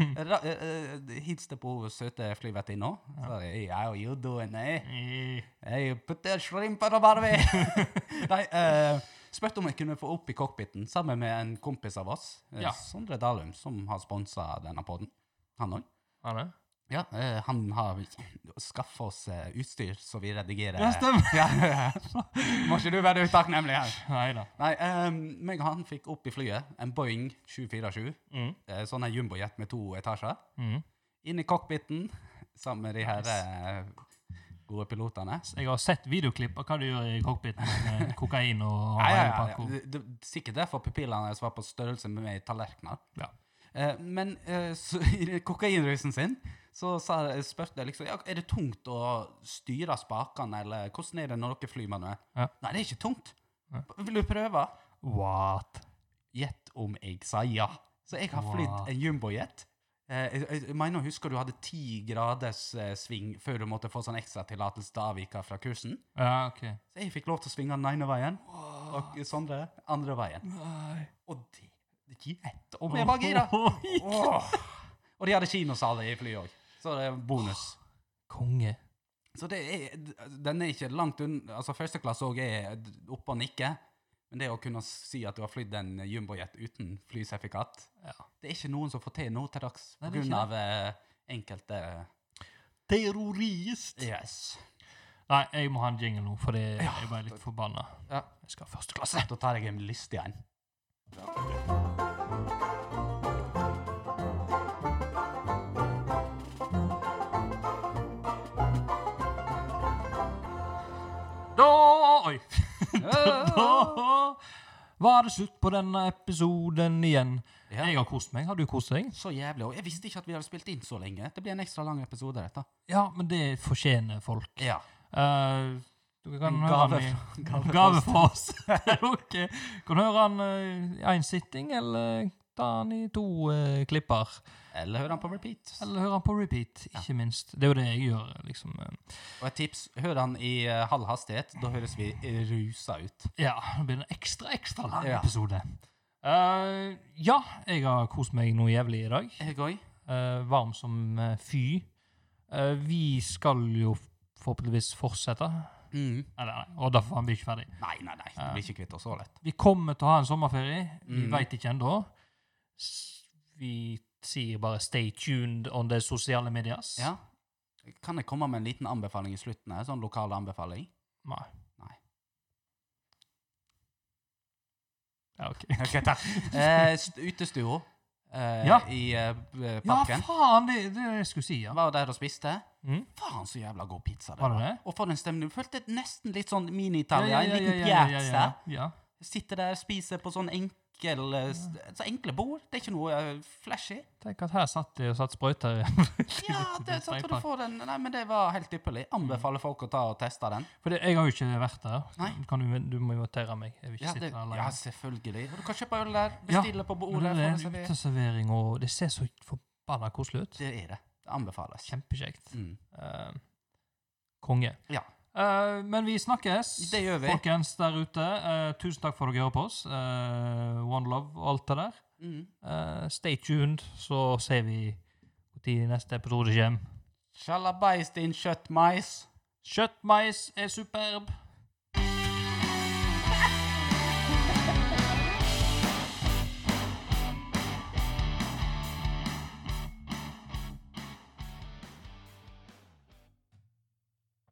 Speaker 2: Mm.
Speaker 3: eh, hilste på hun søte flyvertinna. Så jeg, How you doing, eh?
Speaker 2: Eh,
Speaker 3: Hey, put the shrimp on the barbie! Nei, eh, spurte om jeg kunne få opp i cockpiten sammen med en kompis av oss, eh,
Speaker 2: Ja.
Speaker 3: Sondre Dalum, som har sponsa denne poden. Han òg.
Speaker 2: Har det?
Speaker 3: Ja, eh, han har skaffa oss eh, utstyr så vi redigerer
Speaker 2: Ja, stemmer.
Speaker 3: Ja. Må ikke du være utakknemlig her?
Speaker 2: Nei da.
Speaker 3: Nei, um, meg og han fikk opp i flyet en Boeing 747,
Speaker 2: Mm.
Speaker 3: eh, sånn en jumbojet med to etasjer.
Speaker 2: Mm.
Speaker 3: Inn i cockpiten sammen med de her eh, gode pilotene.
Speaker 2: Jeg har sett videoklipp av hva du gjør i cockpiten med kokain og
Speaker 3: Ja, ja, ja, ja.
Speaker 2: alpako.
Speaker 3: Det, det, sikkert derfor pupillene deres var på størrelse med meg i tallerkener.
Speaker 2: Ja.
Speaker 3: Eh, men eh, så, i kokainrusen sin så sa, spurte jeg liksom ja, Er det tungt å styre spakene, eller hvordan er det når dere flyr manuelt?
Speaker 2: Ja.
Speaker 3: Nei, det er ikke tungt.
Speaker 2: Ja.
Speaker 3: Vil du prøve?
Speaker 2: What?
Speaker 3: Gjett om jeg sa ja. Så jeg har
Speaker 2: Wow.
Speaker 3: flydd en jumbojet. Eh, jeg, jeg- jeg mener, husker du hadde ti graders eh, sving før du måtte få sånn ekstra tillatelse til å avvike fra kursen?
Speaker 2: Ja, OK.
Speaker 3: Så jeg fikk lov til å svinge den ene veien, og Sondre andre veien.
Speaker 2: Nei.
Speaker 3: Og det det gikk ett om jeg var gira! Åh. Og de hadde kinosal i flyet òg, så det er bonus.
Speaker 2: Konge.
Speaker 3: Så det er, den er ikke langt unna Altså, første klasse òg er oppe og nikker. Men det å kunne si at du har flydd en jumbojet uten flysertifikat
Speaker 2: Ja.
Speaker 3: Det er ikke noen som får til nå til dags
Speaker 2: Nei, det er
Speaker 3: pga. eh, enkelte
Speaker 2: Terrorist.
Speaker 3: Yes.
Speaker 2: Nei, jeg må ha en jingle nå, fordi jeg ble litt forbanna.
Speaker 3: Ja.
Speaker 2: Jeg skal ha første klasse.
Speaker 3: Da tar jeg en lystig en.
Speaker 2: Da Oi! da var det slutt på denne episoden igjen.
Speaker 3: Ja.
Speaker 2: Jeg har kost meg. Har du kost deg?
Speaker 3: Så jævlig. Og jeg visste ikke at vi hadde spilt inn så lenge. Det blir en ekstra lang episode, dette.
Speaker 2: Ja, men det fortjener folk.
Speaker 3: Ja.
Speaker 2: Eh, du kan
Speaker 3: En
Speaker 2: høre han
Speaker 3: gave
Speaker 2: i
Speaker 3: fra- gave
Speaker 2: Gave
Speaker 3: fra
Speaker 2: fra oss. Dere kan høre han eh, i én sitting, eller ta han i to eh, klipper.
Speaker 3: Eller hør han på repeat.
Speaker 2: Eller høre han på repeat, ikke minst. Det er jo det jeg gjør, liksom. eh.
Speaker 3: Og et tips, hør han i eh, halv hastighet. Da høres vi rusa ut.
Speaker 2: Ja, det blir en ekstra, ekstra lang
Speaker 3: Ja.
Speaker 2: episode. Eh, ja, jeg har kost meg noe jævlig i dag.
Speaker 3: Jeg òg.
Speaker 2: Eh, varm som eh, fy. Eh, vi skal jo forhåpentligvis fortsette.
Speaker 3: Mm.
Speaker 2: Eller, nei, og derfor blir vi ikke ferdig.
Speaker 3: Nei, nei, nei. Du blir ikke kvitt oss så lett.
Speaker 2: Vi kommer til å ha en sommerferie. Vi
Speaker 3: Mm.
Speaker 2: vet ikke ennå. S- Vi sier bare 'stay tuned on the sosiale medias'.
Speaker 3: Ja. Kan jeg komme med en liten anbefaling i slutten her? Sånn lokal anbefaling?
Speaker 2: Nei.
Speaker 3: Nei.
Speaker 2: Ja, OK.
Speaker 3: Eh, st- Utestua eh,
Speaker 2: Ja.
Speaker 3: i eh, eh,
Speaker 2: Ja,
Speaker 3: parken.
Speaker 2: faen! Det det er det jeg skulle si, ja.
Speaker 3: Var der og spiste.
Speaker 2: Mm.
Speaker 3: Faen, så jævla god pizza det
Speaker 2: Var
Speaker 3: var.
Speaker 2: det det?
Speaker 3: Og for en stemning. Du følte nesten litt sånn
Speaker 2: Ja,
Speaker 3: mini-Italia.
Speaker 2: ja, ja,
Speaker 3: En liten
Speaker 2: ja, ja, ja,
Speaker 3: piazza.
Speaker 2: ja, ja.
Speaker 3: Sitter der, spiser på sånn enkel eh, s- Så enkle bord. Det er ikke noe eh, flashy.
Speaker 2: Tenk at her satt de og satt sprøyter.
Speaker 3: Ja, det, så tror du får den Nei, men det var helt ypperlig.
Speaker 2: Mm.
Speaker 3: Anbefaler folk å ta og teste den.
Speaker 2: For det, jeg har jo ikke vært der.
Speaker 3: Nei.
Speaker 2: Kan du, du må invitere meg. Jeg vil ikke
Speaker 3: Ja,
Speaker 2: sitte
Speaker 3: det,
Speaker 2: der alene.
Speaker 3: ja selvfølgelig. Og du kan kjøpe øl der. Bestille på
Speaker 2: Men
Speaker 3: bordet.
Speaker 2: det
Speaker 3: få
Speaker 2: er
Speaker 3: det
Speaker 2: en
Speaker 3: servert.
Speaker 2: uteservering, og det ser så forbanna koselig ut.
Speaker 3: Det er det. Det anbefales.
Speaker 2: Kjempekjekt.
Speaker 3: Mm.
Speaker 2: Eh, konge.
Speaker 3: Ja.
Speaker 2: Eh, men vi snakkes,
Speaker 3: Det gjør vi.
Speaker 2: folkens der ute. Eh, tusen takk for at dere hører på oss. Eh, one love og alt det der.
Speaker 3: Mm.
Speaker 2: Eh, stay tuned, så ser vi når neste episode kommer.
Speaker 3: Sjalabais, din kjøttmais.
Speaker 2: Kjøttmeis er superb.